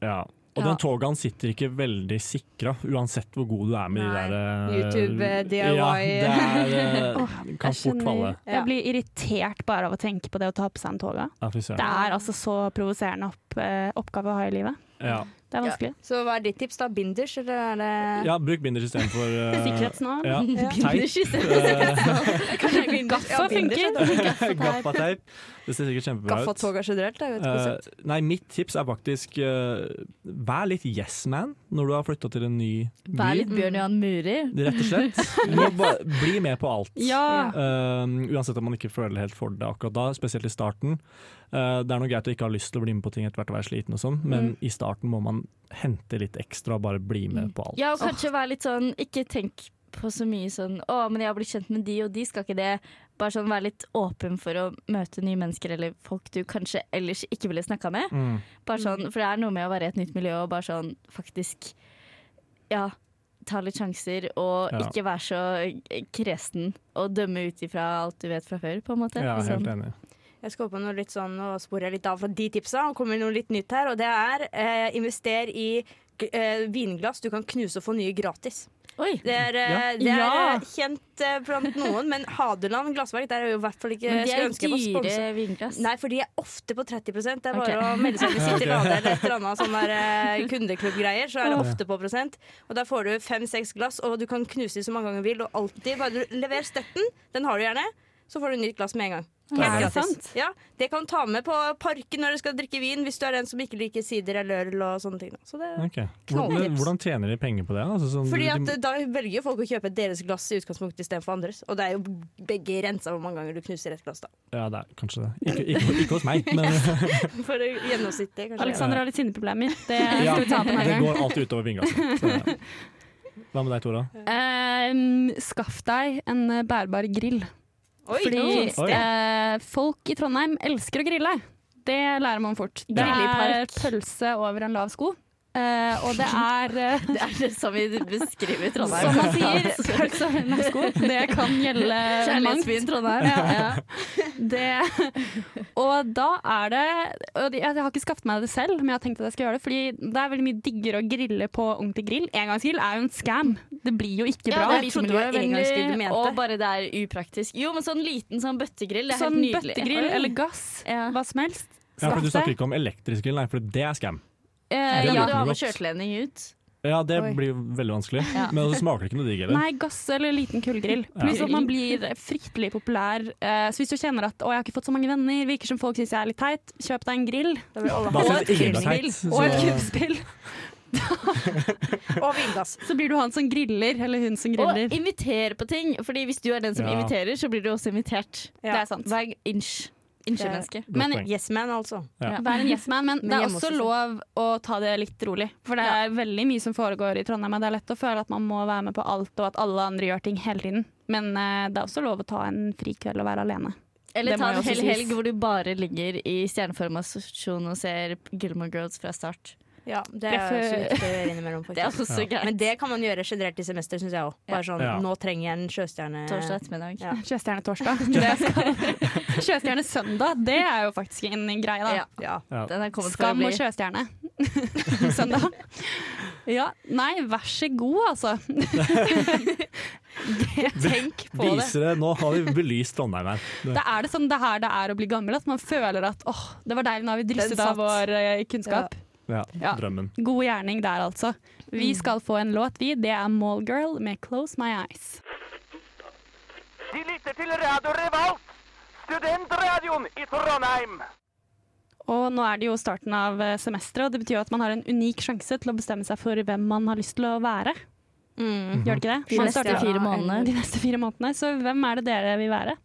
Speaker 4: Ja. Og
Speaker 10: Ja.
Speaker 4: den togaen sitter ikke veldig sikra, uansett hvor god du er med
Speaker 10: Nei.
Speaker 4: de der eh,
Speaker 10: YouTube, eh, DIY.
Speaker 4: Ja, det er, eh,
Speaker 1: Åh,
Speaker 4: kan
Speaker 1: jeg
Speaker 4: fort falle.
Speaker 1: skjønner- Jeg blir irritert bare av å tenke på det å ta på seg en toga.
Speaker 4: Ja, fy søren.
Speaker 1: Det er altså så provoserende opp, eh, oppgave å ha i livet.
Speaker 4: Ja.
Speaker 1: Det er vanskelig.
Speaker 3: Så hva er ditt tips, da? Binders, eller er det
Speaker 4: ja, bruk binders istedenfor uh,
Speaker 1: Sikkerhetsnål.
Speaker 4: Ja, Eh,
Speaker 3: Ja.
Speaker 4: teip.
Speaker 3: Binders Kanskje binders? Ja,
Speaker 1: Gaffa
Speaker 3: binders, ja,
Speaker 1: funker.
Speaker 3: da.
Speaker 4: Eh, Gaffateip. Det ser sikkert kjempebra ut.
Speaker 3: Gaffatoga generelt er jo et konsept.
Speaker 4: Eh, nei, mitt tips er faktisk eh, vær litt yes man når du har flytta til en ny by.
Speaker 2: Vær litt Bjørn Johan Muri.
Speaker 4: Rett og slett. Du må ba- bli med på alt.
Speaker 2: Ja.
Speaker 4: Um, uansett om man ikke føler helt for det akkurat da, spesielt i starten. Uh, det er noe greit å ikke ha lyst til å bli med på ting etter hvert og være sliten, og sånn, men
Speaker 2: Mm.
Speaker 4: i starten må man hente litt ekstra og bare bli med på alt.
Speaker 2: Ja, og kanskje være litt sånn Ikke tenk på så mye sånn Å, men jeg har blitt kjent med de, og de skal ikke det. Bare sånn være litt åpen for å møte nye mennesker eller folk du kanskje ellers ikke ville snakka med.
Speaker 4: Mm.
Speaker 2: Bare sånn, For det er noe med å være i et nytt miljø og bare sånn faktisk Ja, ta litt sjanser og
Speaker 4: Ja.
Speaker 2: ikke være så kresen og dømme ut ifra alt du vet fra før, på en måte.
Speaker 4: Ja,
Speaker 2: Sånn.
Speaker 4: helt enig.
Speaker 3: Jeg skal på noe litt sånn, Nå sporer jeg litt av fra de tipsa og kommer med noe litt nytt her. Og det er eh, invester i g- eh, vinglass du kan knuse og få nye gratis. Det er, eh,
Speaker 2: Ja.
Speaker 3: det er
Speaker 2: Ja.
Speaker 3: eh, kjent eh, blant noen, men Hadeland glassverk der er jo i hvert fall ikke
Speaker 2: Men de
Speaker 3: skulle
Speaker 2: er
Speaker 3: ønske jeg var
Speaker 2: dyre
Speaker 3: sponset.
Speaker 2: vinglass.
Speaker 3: Nei, for de er ofte på 30 Det er bare
Speaker 2: Ok.
Speaker 3: å melde seg inn i City
Speaker 2: Ok.
Speaker 3: Lade eller et eller annet sånn der eh, kundeklubbgreier, så er det
Speaker 2: Ja.
Speaker 3: ofte på prosent. Og der får du fem-seks glass, og du kan knuse dem så mange ganger du vil, og alltid bare du lever støtten, den har du gjerne, så får du nytt glass med en gang.
Speaker 1: Ja,
Speaker 3: Helt
Speaker 1: er det
Speaker 3: gratis.
Speaker 1: sant?
Speaker 3: Ja, det kan du ta med på parken når du skal drikke vin, hvis du er en som ikke liker sider eller øl og sånne ting. da. Så det
Speaker 4: Ok.
Speaker 3: Knalltips.
Speaker 4: Hvordan, hvordan tjener de penger på det? Altså, sånn,
Speaker 3: fordi at
Speaker 4: de,
Speaker 3: eh, Da velger jo folk å kjøpe deres glass i utgangspunktet istedenfor andres. Og det er jo begge rensa hvor mange ganger du knuser et glass. da
Speaker 4: ja, det er kanskje det. Ikke, ikke, ikke hos meg, men
Speaker 3: For gjennomsnittet, kanskje.
Speaker 1: Alexander har litt sinneproblemer. Det
Speaker 4: ja,
Speaker 1: Eh, skal vi ta på en
Speaker 4: det
Speaker 1: annen
Speaker 4: går
Speaker 1: gang.
Speaker 4: alltid utover vinglasset. Så, Hva med deg, Tora?
Speaker 1: Ehm, skaff deg en eh, bærbar grill.
Speaker 3: Oi,
Speaker 1: Fordi
Speaker 4: oi.
Speaker 1: eh, folk i Trondheim elsker å grille. Det lærer man fort. Det
Speaker 2: Grille i
Speaker 1: er eh,
Speaker 2: park.
Speaker 1: pølse over en lav sko. Eh, og det er eh,
Speaker 2: Det er det som vi beskriver i Trondheim. altså.
Speaker 1: Som man sier, pølse over en lav sko. Det kan gjelde mangt.
Speaker 2: Kjærlighetsbyen Trondheim.
Speaker 1: Ja, ja. Det, og da er det og det- Jeg har ikke skaffet meg det selv, men jeg har tenkt at jeg skal gjøre det. Fordi det er veldig mye diggere å grille på ordentlig grill. Engangsgrill er jo en scam. Det blir jo ikke bra.
Speaker 2: jeg trodde det var engangsgrill og bare det er upraktisk. Jo, men sånn liten sånn bøttegrill, det er
Speaker 1: Sånn
Speaker 2: helt nydelig.
Speaker 1: bøttegrill
Speaker 2: Oi.
Speaker 1: eller gass, hva som helst.
Speaker 4: Ja, for du
Speaker 1: Skaff
Speaker 4: snakker
Speaker 1: deg.
Speaker 4: ikke om elektrisk grill, nei, for det er scam.
Speaker 1: Eh,
Speaker 4: Det
Speaker 2: Ja,
Speaker 4: liker
Speaker 2: du
Speaker 4: vi
Speaker 2: har med
Speaker 4: godt.
Speaker 2: kjørtelending ut.
Speaker 4: Ja, det
Speaker 1: Oi.
Speaker 4: blir veldig vanskelig.
Speaker 1: Ja.
Speaker 4: Men så smaker det ikke noe digg heller.
Speaker 1: Nei, gass eller liten kullgrill.
Speaker 4: Ja.
Speaker 1: Pluss at man blir fryktelig populær. Eh, Så hvis du kjenner at 'å, jeg har ikke fått så mange venner', virker som folk syns jeg er litt teit, kjøp deg en grill.
Speaker 4: alle Da synes ingen det er teit, så-
Speaker 1: Og et kubbspill.
Speaker 3: og vinglass.
Speaker 1: Så blir du han som griller, eller hun som griller.
Speaker 2: Og inviter på ting, Fordi hvis du er den som
Speaker 1: Ja.
Speaker 2: inviterer, så blir du også invitert.
Speaker 1: Det er sant.
Speaker 2: Hver inch. Inch-menneske.
Speaker 1: Godt Men- poeng.
Speaker 3: yes man, altså.
Speaker 1: Ja. Vær en yes man, men det er
Speaker 3: hjemme
Speaker 1: også
Speaker 3: også,
Speaker 1: lov å ta det litt rolig. For det er veldig mye som foregår i Trondheim, og det er lett å føle at man må være med på alt, og at alle andre gjør ting hele tiden. Men eh, det er også lov å ta en frikveld og være alene.
Speaker 2: Eller
Speaker 1: Det
Speaker 2: ta
Speaker 1: må
Speaker 2: en
Speaker 1: jo også
Speaker 2: hel
Speaker 1: sies.
Speaker 2: helg hvor du bare ligger i stjerneformasjon og ser Gilmore Girls fra start.
Speaker 3: Ja, det er jo så viktig å gjøre innimellom. faktisk.
Speaker 2: Det er også så greit.
Speaker 3: Men det kan man gjøre generelt i semester, syns jeg òg. Bare sånn,
Speaker 2: Ja.
Speaker 3: nå trenger jeg en sjøstjerne
Speaker 2: Torsdag ettermiddag.
Speaker 3: Ja.
Speaker 1: Sjøstjerne torsdag. Det skal- Sjøstjerne søndag, det er jo faktisk en greie, da.
Speaker 4: Ja.
Speaker 2: Den er kommet for å
Speaker 1: Skam
Speaker 2: bli.
Speaker 1: og sjøstjerne. søndag. Ja, nei, vær så god, altså. det, tenk på det.
Speaker 4: Viser det, nå har vi belyst Trondheim her.
Speaker 1: Det er det sånn det her det er å bli gammel, at man føler at åh, det var deilig, nå har vi drysset
Speaker 3: Den
Speaker 1: av
Speaker 3: satt.
Speaker 1: vår eh, kunnskap.
Speaker 4: ja,
Speaker 1: Ja.
Speaker 4: drømmen.
Speaker 1: God gjerning der, altså. Vi
Speaker 11: Mm.
Speaker 1: skal få en låt, vi. Det er Mallgirl med 'Close My Eyes'.
Speaker 11: De lytter til Radio Revolt, studentradioen i Trondheim.
Speaker 1: Og nå er det jo starten av eh, semesteret, og det betyr jo at man har en unik sjanse til å bestemme seg for hvem man har lyst til å være.
Speaker 2: Mm.
Speaker 1: Gjør det ikke det?
Speaker 2: De
Speaker 1: Man
Speaker 2: neste
Speaker 1: starter-
Speaker 2: fire månedene.
Speaker 1: De neste fire månedene. Så hvem er det dere vil være?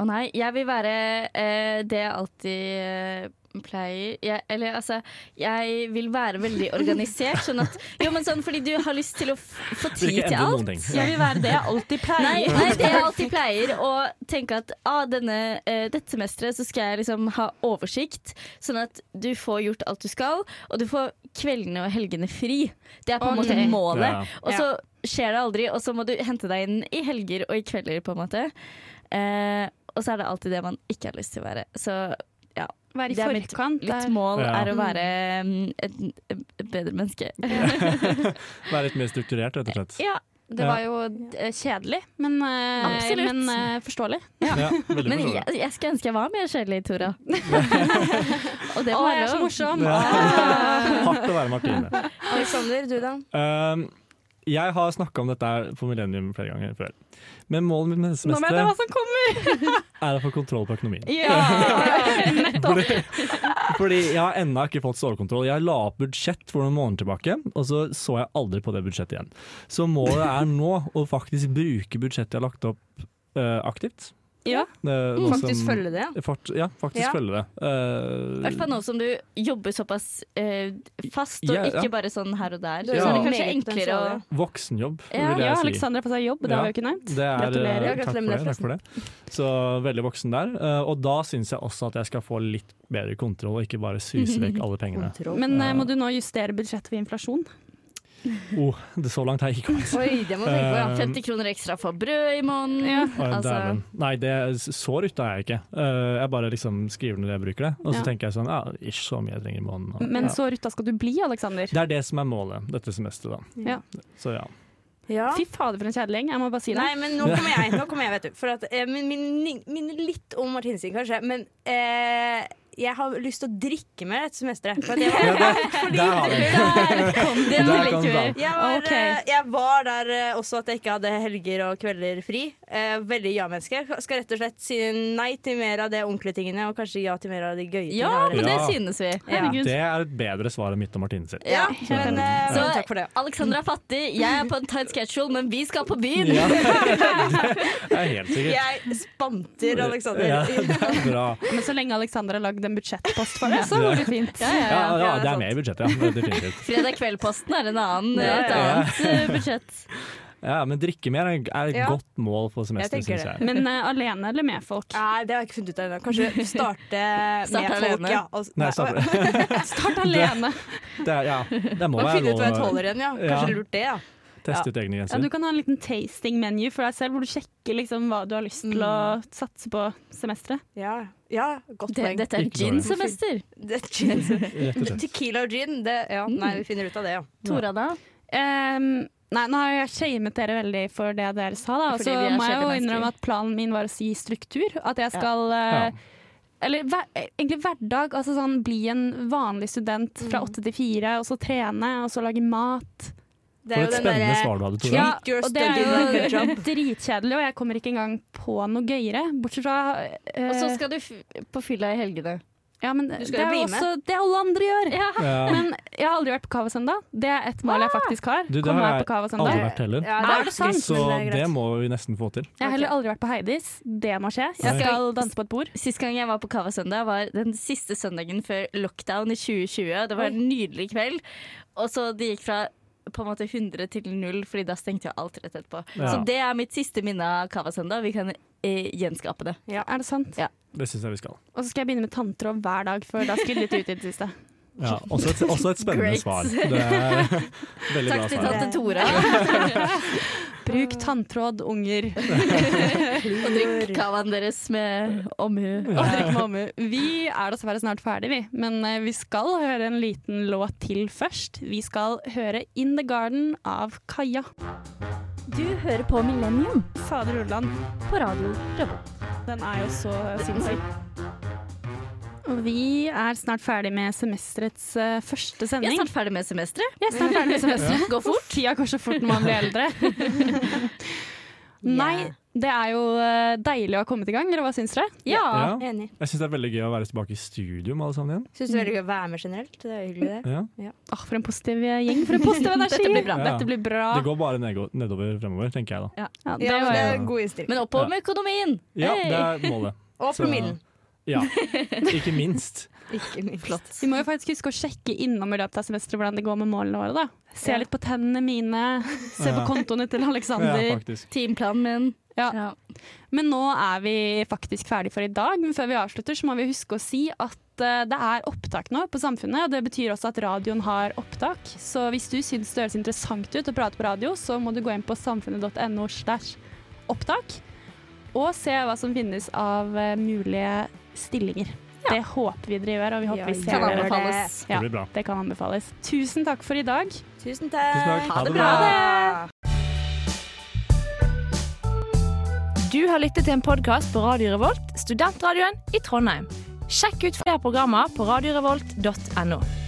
Speaker 2: Å nei, jeg vil være eh, det jeg alltid eh, pleier jeg, Eller altså, jeg vil være veldig organisert. Sånn at, jo, men sånn fordi du har lyst til å f få
Speaker 1: Vil
Speaker 2: tid
Speaker 1: ikke
Speaker 2: til
Speaker 1: endre noen
Speaker 2: alt.
Speaker 1: ting. Jeg vil være det jeg alltid pleier.
Speaker 2: Nei, nei det jeg alltid pleier å tenke at ah, denne, eh, dette semesteret så skal jeg liksom ha oversikt, sånn at du får gjort alt du skal, og du får kveldene og helgene fri. Det er på en
Speaker 1: Ok.
Speaker 2: måte målet.
Speaker 1: Ja.
Speaker 2: Og så skjer det aldri, og så må du hente deg inn i helger og i kvelder, på en måte. Eh, og så er det alltid det man ikke har lyst til å være. Så ja.
Speaker 1: Være i
Speaker 2: Det er mitt-
Speaker 1: forkant, eh, det
Speaker 2: Mitt
Speaker 1: er-
Speaker 2: mål
Speaker 4: Ja.
Speaker 2: er å være mm, et, et bedre menneske.
Speaker 4: Være litt mer strukturert, rett og slett.
Speaker 1: Ja, det
Speaker 4: Ja.
Speaker 1: var jo eh, kjedelig, men, eh,
Speaker 2: Absolutt.
Speaker 1: men eh, forståelig.
Speaker 4: Ja, veldig
Speaker 2: Men
Speaker 4: forståelig.
Speaker 2: jeg, jeg skulle ønske jeg var mer kjedelig, Tora. Og det
Speaker 1: Å,
Speaker 2: må
Speaker 1: jeg
Speaker 2: være
Speaker 1: er så
Speaker 2: lov.
Speaker 1: morsom!
Speaker 4: Ja.
Speaker 1: Ah.
Speaker 4: Hardt å være Martine.
Speaker 3: Alexander, du da?
Speaker 4: Um, jeg har snakka om dette her på Millennium flere ganger før. Men målet mitt med dette
Speaker 1: Nå vet jeg hva
Speaker 4: semesteret
Speaker 1: som kommer!
Speaker 4: er å få kontroll på økonomien.
Speaker 1: Ja, nettopp.
Speaker 4: Fordi, fordi jeg har ennå ikke fått stålkontroll. Jeg la opp budsjett for noen måneder tilbake, og så så jeg aldri på det budsjettet igjen. Så målet er nå å faktisk bruke budsjettet jeg har lagt opp, eh, aktivt.
Speaker 1: Ja.
Speaker 4: Det er noe
Speaker 3: Faktisk
Speaker 4: som-
Speaker 3: følge det, ja.
Speaker 4: Fort, ja, faktisk
Speaker 3: Ja.
Speaker 4: følge det.
Speaker 2: I
Speaker 4: Eh,
Speaker 2: hvert fall nå som du jobber såpass eh, fast, og
Speaker 4: Ja, ja.
Speaker 2: ikke bare sånn her og der.
Speaker 3: Du
Speaker 4: er
Speaker 2: Så er det
Speaker 4: sånn
Speaker 2: kanskje
Speaker 3: meget
Speaker 2: enklere å
Speaker 3: potensial,
Speaker 4: Eh, voksenjobb,
Speaker 2: Ja,
Speaker 4: vil jeg
Speaker 1: ja
Speaker 4: si.
Speaker 1: Alexander har på seg jobb, det
Speaker 4: Ja.
Speaker 1: har vi ikke nevnt.
Speaker 4: Det er,
Speaker 1: Gratulerer.
Speaker 4: eh, Takk for det.
Speaker 3: liksom. Gratulerer med
Speaker 4: Takk for det. Så veldig voksen der. Eh, Og da syns jeg også at jeg skal få litt bedre kontroll, og ikke bare suse vekk alle pengene.
Speaker 1: Men eh, må du nå justere budsjettet for inflasjon?
Speaker 4: Oh, det så langt har jeg ikke kommet.
Speaker 3: Oi, det må du tenke på, ja.
Speaker 4: Eh,
Speaker 2: 50 kroner ekstra for brød i måneden.
Speaker 4: Å,
Speaker 2: Altså,
Speaker 4: dæven. Nei, det, så rutta er jeg ikke. Eh, jeg bare liksom skriver ned det jeg bruker det. Og så
Speaker 1: Ja.
Speaker 4: tenker jeg sånn ja, ish, så mye jeg trenger i måneden. og-
Speaker 1: Men
Speaker 4: ja.
Speaker 1: så rutta skal du bli, Alexander.
Speaker 4: Det er det som er målet dette semesteret, da.
Speaker 1: Ja.
Speaker 4: Så ja.
Speaker 3: ja.
Speaker 1: Fy fader, for en kjedling. Jeg må bare si det.
Speaker 3: Nei, men nå kommer jeg. Nå kommer jeg vet du. For at, eh, min, min, min litt om Martinsen, kanskje. Men eh, jeg har lyst til å drikke mer dette semesteret. For at jeg var,
Speaker 4: Der har vi den!
Speaker 2: den
Speaker 4: Der
Speaker 2: liker
Speaker 4: kom
Speaker 2: vi.
Speaker 4: den.
Speaker 3: jeg var,
Speaker 1: Ok.
Speaker 3: eh, jeg var der eh, også at jeg ikke hadde helger og kvelder fri. Eh, veldig ja-menneske. Jeg Skal rett og slett si nei til mer av de ordentlige tingene, og kanskje ja til mer av de gøye
Speaker 2: ja,
Speaker 3: tingene.
Speaker 2: men det
Speaker 4: Ja.
Speaker 2: synes vi.
Speaker 1: Herregud.
Speaker 4: Det er et bedre svar enn mitt og Martine sitt.
Speaker 3: Ja, men eh,
Speaker 2: Så
Speaker 3: takk for det.
Speaker 2: Alexandra er fattig, jeg er på en tight schedule, men vi skal på byen!
Speaker 4: Ja. Det er helt sikkert.
Speaker 3: Jeg spanter Alexander.
Speaker 4: Ja, det er bra.
Speaker 1: Men så lenge Alexander har lagd en budsjettpost for det, så går det fint.
Speaker 4: Ja, ja,
Speaker 3: det er
Speaker 4: det er
Speaker 3: sant.
Speaker 4: med i budsjettet, ja. Definitivt.
Speaker 2: Sånn. Fredag kveld-posten er en annen,
Speaker 3: Ja,
Speaker 2: et
Speaker 3: ja, ja.
Speaker 2: annet eh, budsjett.
Speaker 4: Ja, men drikke mer er er et
Speaker 3: Ja.
Speaker 4: godt mål for semesteret,
Speaker 3: Jeg tenker
Speaker 4: syns jeg.
Speaker 1: Men eh, alene eller med folk?
Speaker 3: Nei, det har jeg ikke funnet ut av ennå. Kanskje starte med
Speaker 2: Starte
Speaker 3: folk.
Speaker 2: alene.
Speaker 3: Ja, altså,
Speaker 4: Nei, sa du det.
Speaker 1: Start alene.
Speaker 4: Det er- Ja, det må
Speaker 3: Man
Speaker 4: være
Speaker 3: finner ut hva jeg
Speaker 4: lov å
Speaker 3: tåler igjen, ja.
Speaker 4: Ja.
Speaker 3: Kanskje lurt det, ja.
Speaker 4: teste ut egne
Speaker 1: Ja, du
Speaker 4: grenser.
Speaker 1: kan ha en liten tasting-menu for deg selv, hvor du sjekker liksom hva du har lyst til å satse på semesteret.
Speaker 3: Ja, ja godt
Speaker 2: Det,
Speaker 3: poeng.
Speaker 2: dette er
Speaker 4: Ikke dårlig.
Speaker 2: gin-semester.
Speaker 3: Det er gin.
Speaker 4: Rett og slett.
Speaker 3: Tequila og gin, det, ja. Nei, vi finner ut av det, ja.
Speaker 2: Tora, da?
Speaker 1: Ehm, nei, nå har jeg shamet dere veldig for det dere sa, da. Og
Speaker 2: Fordi
Speaker 1: så
Speaker 2: vi er
Speaker 1: må jeg jo
Speaker 2: kjedelige
Speaker 1: innrømme
Speaker 2: mennesker.
Speaker 1: at planen min var å si struktur. At jeg skal eh,
Speaker 4: Ja.
Speaker 1: Eller hver, egentlig hverdag. Altså sånn bli en vanlig student fra
Speaker 3: Mm.
Speaker 1: åtte til fire, og så trene, og så lage mat.
Speaker 3: Det
Speaker 4: For et spennende
Speaker 3: eh,
Speaker 4: svar du hadde, Tora.
Speaker 1: Ja,
Speaker 3: Treat your
Speaker 1: og det
Speaker 3: study like a
Speaker 1: er jo
Speaker 3: job.
Speaker 1: dritkjedelig, og jeg kommer ikke engang på noe gøyere. Bortsett fra eh,
Speaker 2: Og så skal du f på fylla i helgene.
Speaker 1: Ja, men
Speaker 3: Du
Speaker 1: det
Speaker 3: skal jo
Speaker 1: er jo
Speaker 3: bli med.
Speaker 1: også det alle andre gjør.
Speaker 4: Ja.
Speaker 1: Men jeg har aldri vært på Cava Søndag. Det er et mål jeg
Speaker 3: Ah!
Speaker 1: faktisk har.
Speaker 4: Du, det
Speaker 1: Komme
Speaker 4: har
Speaker 1: meg
Speaker 4: jeg
Speaker 1: på Cava
Speaker 4: Aldri
Speaker 1: Søndag.
Speaker 4: vært heller.
Speaker 3: Ja,
Speaker 1: Er det sant?
Speaker 4: Så
Speaker 3: men det er
Speaker 4: det
Speaker 3: greit.
Speaker 4: må vi nesten få til.
Speaker 1: Jeg har heller aldri vært på Heidis. Det må skje. Jeg
Speaker 4: Nei.
Speaker 1: skal danse på et bord.
Speaker 2: Sist gang jeg var på Kava søndag var den siste søndagen før lockdown i 2020. og Det var en nydelig kveld. Og så det gikk fra på en måte 100 til 0, fordi da stengte jo alt rett etterpå.
Speaker 4: Ja.
Speaker 2: Så det er mitt siste minne av Kava søndag. Vi kan eh, gjenskape det.
Speaker 1: Er det sant?
Speaker 2: Ja.
Speaker 4: Det syns jeg vi skal.
Speaker 1: Og så skal jeg begynne med tanntråd hver dag, for da skulle litt ut i det siste.
Speaker 4: Ja, også, et, også et spennende
Speaker 2: Great.
Speaker 4: svar. Det er veldig
Speaker 2: Takk
Speaker 4: bra
Speaker 2: til
Speaker 4: svar.
Speaker 2: tante Tora.
Speaker 1: Bruk tanntråd, unger.
Speaker 2: Og drikk kavaen deres med omhu.
Speaker 1: Og drikk med omhu. Vi er dessverre snart ferdig, vi. Men eh, vi skal høre en liten låt til først. Vi skal høre 'In The Garden' av Kaja.
Speaker 2: Du hører på Millennium
Speaker 1: Fader Ulland,
Speaker 2: på radio.
Speaker 1: den er jo så sinnssyk. Og vi er snart ferdig med semesterets eh, første
Speaker 2: Vi er
Speaker 1: sending.
Speaker 2: snart ferdig med semesteret.
Speaker 1: Jeg er snart ferdig med semesteret. Går fort. Tida går så fort når man blir eldre. Nei, det er jo eh, deilig å ha kommet i gang. Eller hva syns dere?
Speaker 4: Ja.
Speaker 3: Enig.
Speaker 4: Jeg syns det er veldig gøy å være tilbake i studio med alle sammen igjen.
Speaker 3: Syns det er veldig gøy å være med generelt. Det er hyggelig, det.
Speaker 4: Ja.
Speaker 1: Åh, Ah, for en positiv eh, gjeng. For en positiv energi.
Speaker 2: Dette blir bra.
Speaker 4: Ja.
Speaker 1: Dette blir bra.
Speaker 4: Det går bare nedgo- nedover fremover, tenker jeg da.
Speaker 1: Ja, det
Speaker 3: Ja, men
Speaker 1: var
Speaker 3: det
Speaker 1: jo
Speaker 3: er en god innstilling.
Speaker 2: Men oppover med økonomien!
Speaker 4: Ja,
Speaker 2: Hey!
Speaker 4: det er målet.
Speaker 3: Og
Speaker 4: Så-
Speaker 3: promillen.
Speaker 4: Ja, ikke minst.
Speaker 3: Ikke minst. Flott.
Speaker 1: Vi må jo faktisk huske å sjekke innom i løpet av semesteret hvordan det går med målene våre. da. Se
Speaker 3: Ja.
Speaker 1: litt på tennene mine, se på
Speaker 4: Ja.
Speaker 1: kontoene til
Speaker 4: Ja,
Speaker 1: Alexander.
Speaker 4: faktisk.
Speaker 2: Teamplanen min.
Speaker 1: Ja. Men nå er vi faktisk ferdig for i dag, men før vi avslutter så må vi huske å si at eh, det er opptak nå på Samfunnet, og det betyr også at radioen har opptak. Så hvis du syns det høres interessant ut å prate på radio, så må du gå inn på samfunnet.no slash opptak, og se hva som finnes av eh, mulige stillinger. Det håper vi dere gjør, og vi håper
Speaker 12: Ja,
Speaker 1: vi ser
Speaker 12: kan
Speaker 1: dere.
Speaker 12: anbefales.
Speaker 1: Ja,
Speaker 12: Det blir bra.
Speaker 1: det kan anbefales. Tusen takk for i dag.
Speaker 12: Tusen
Speaker 3: Tusen
Speaker 12: takk. Ha
Speaker 1: Ha
Speaker 12: det
Speaker 1: det bra.
Speaker 12: bra. Du har lyttet til en podkast på Radio Revolt, studentradioen i Trondheim. Sjekk ut flere programmer på radiorevolt.no.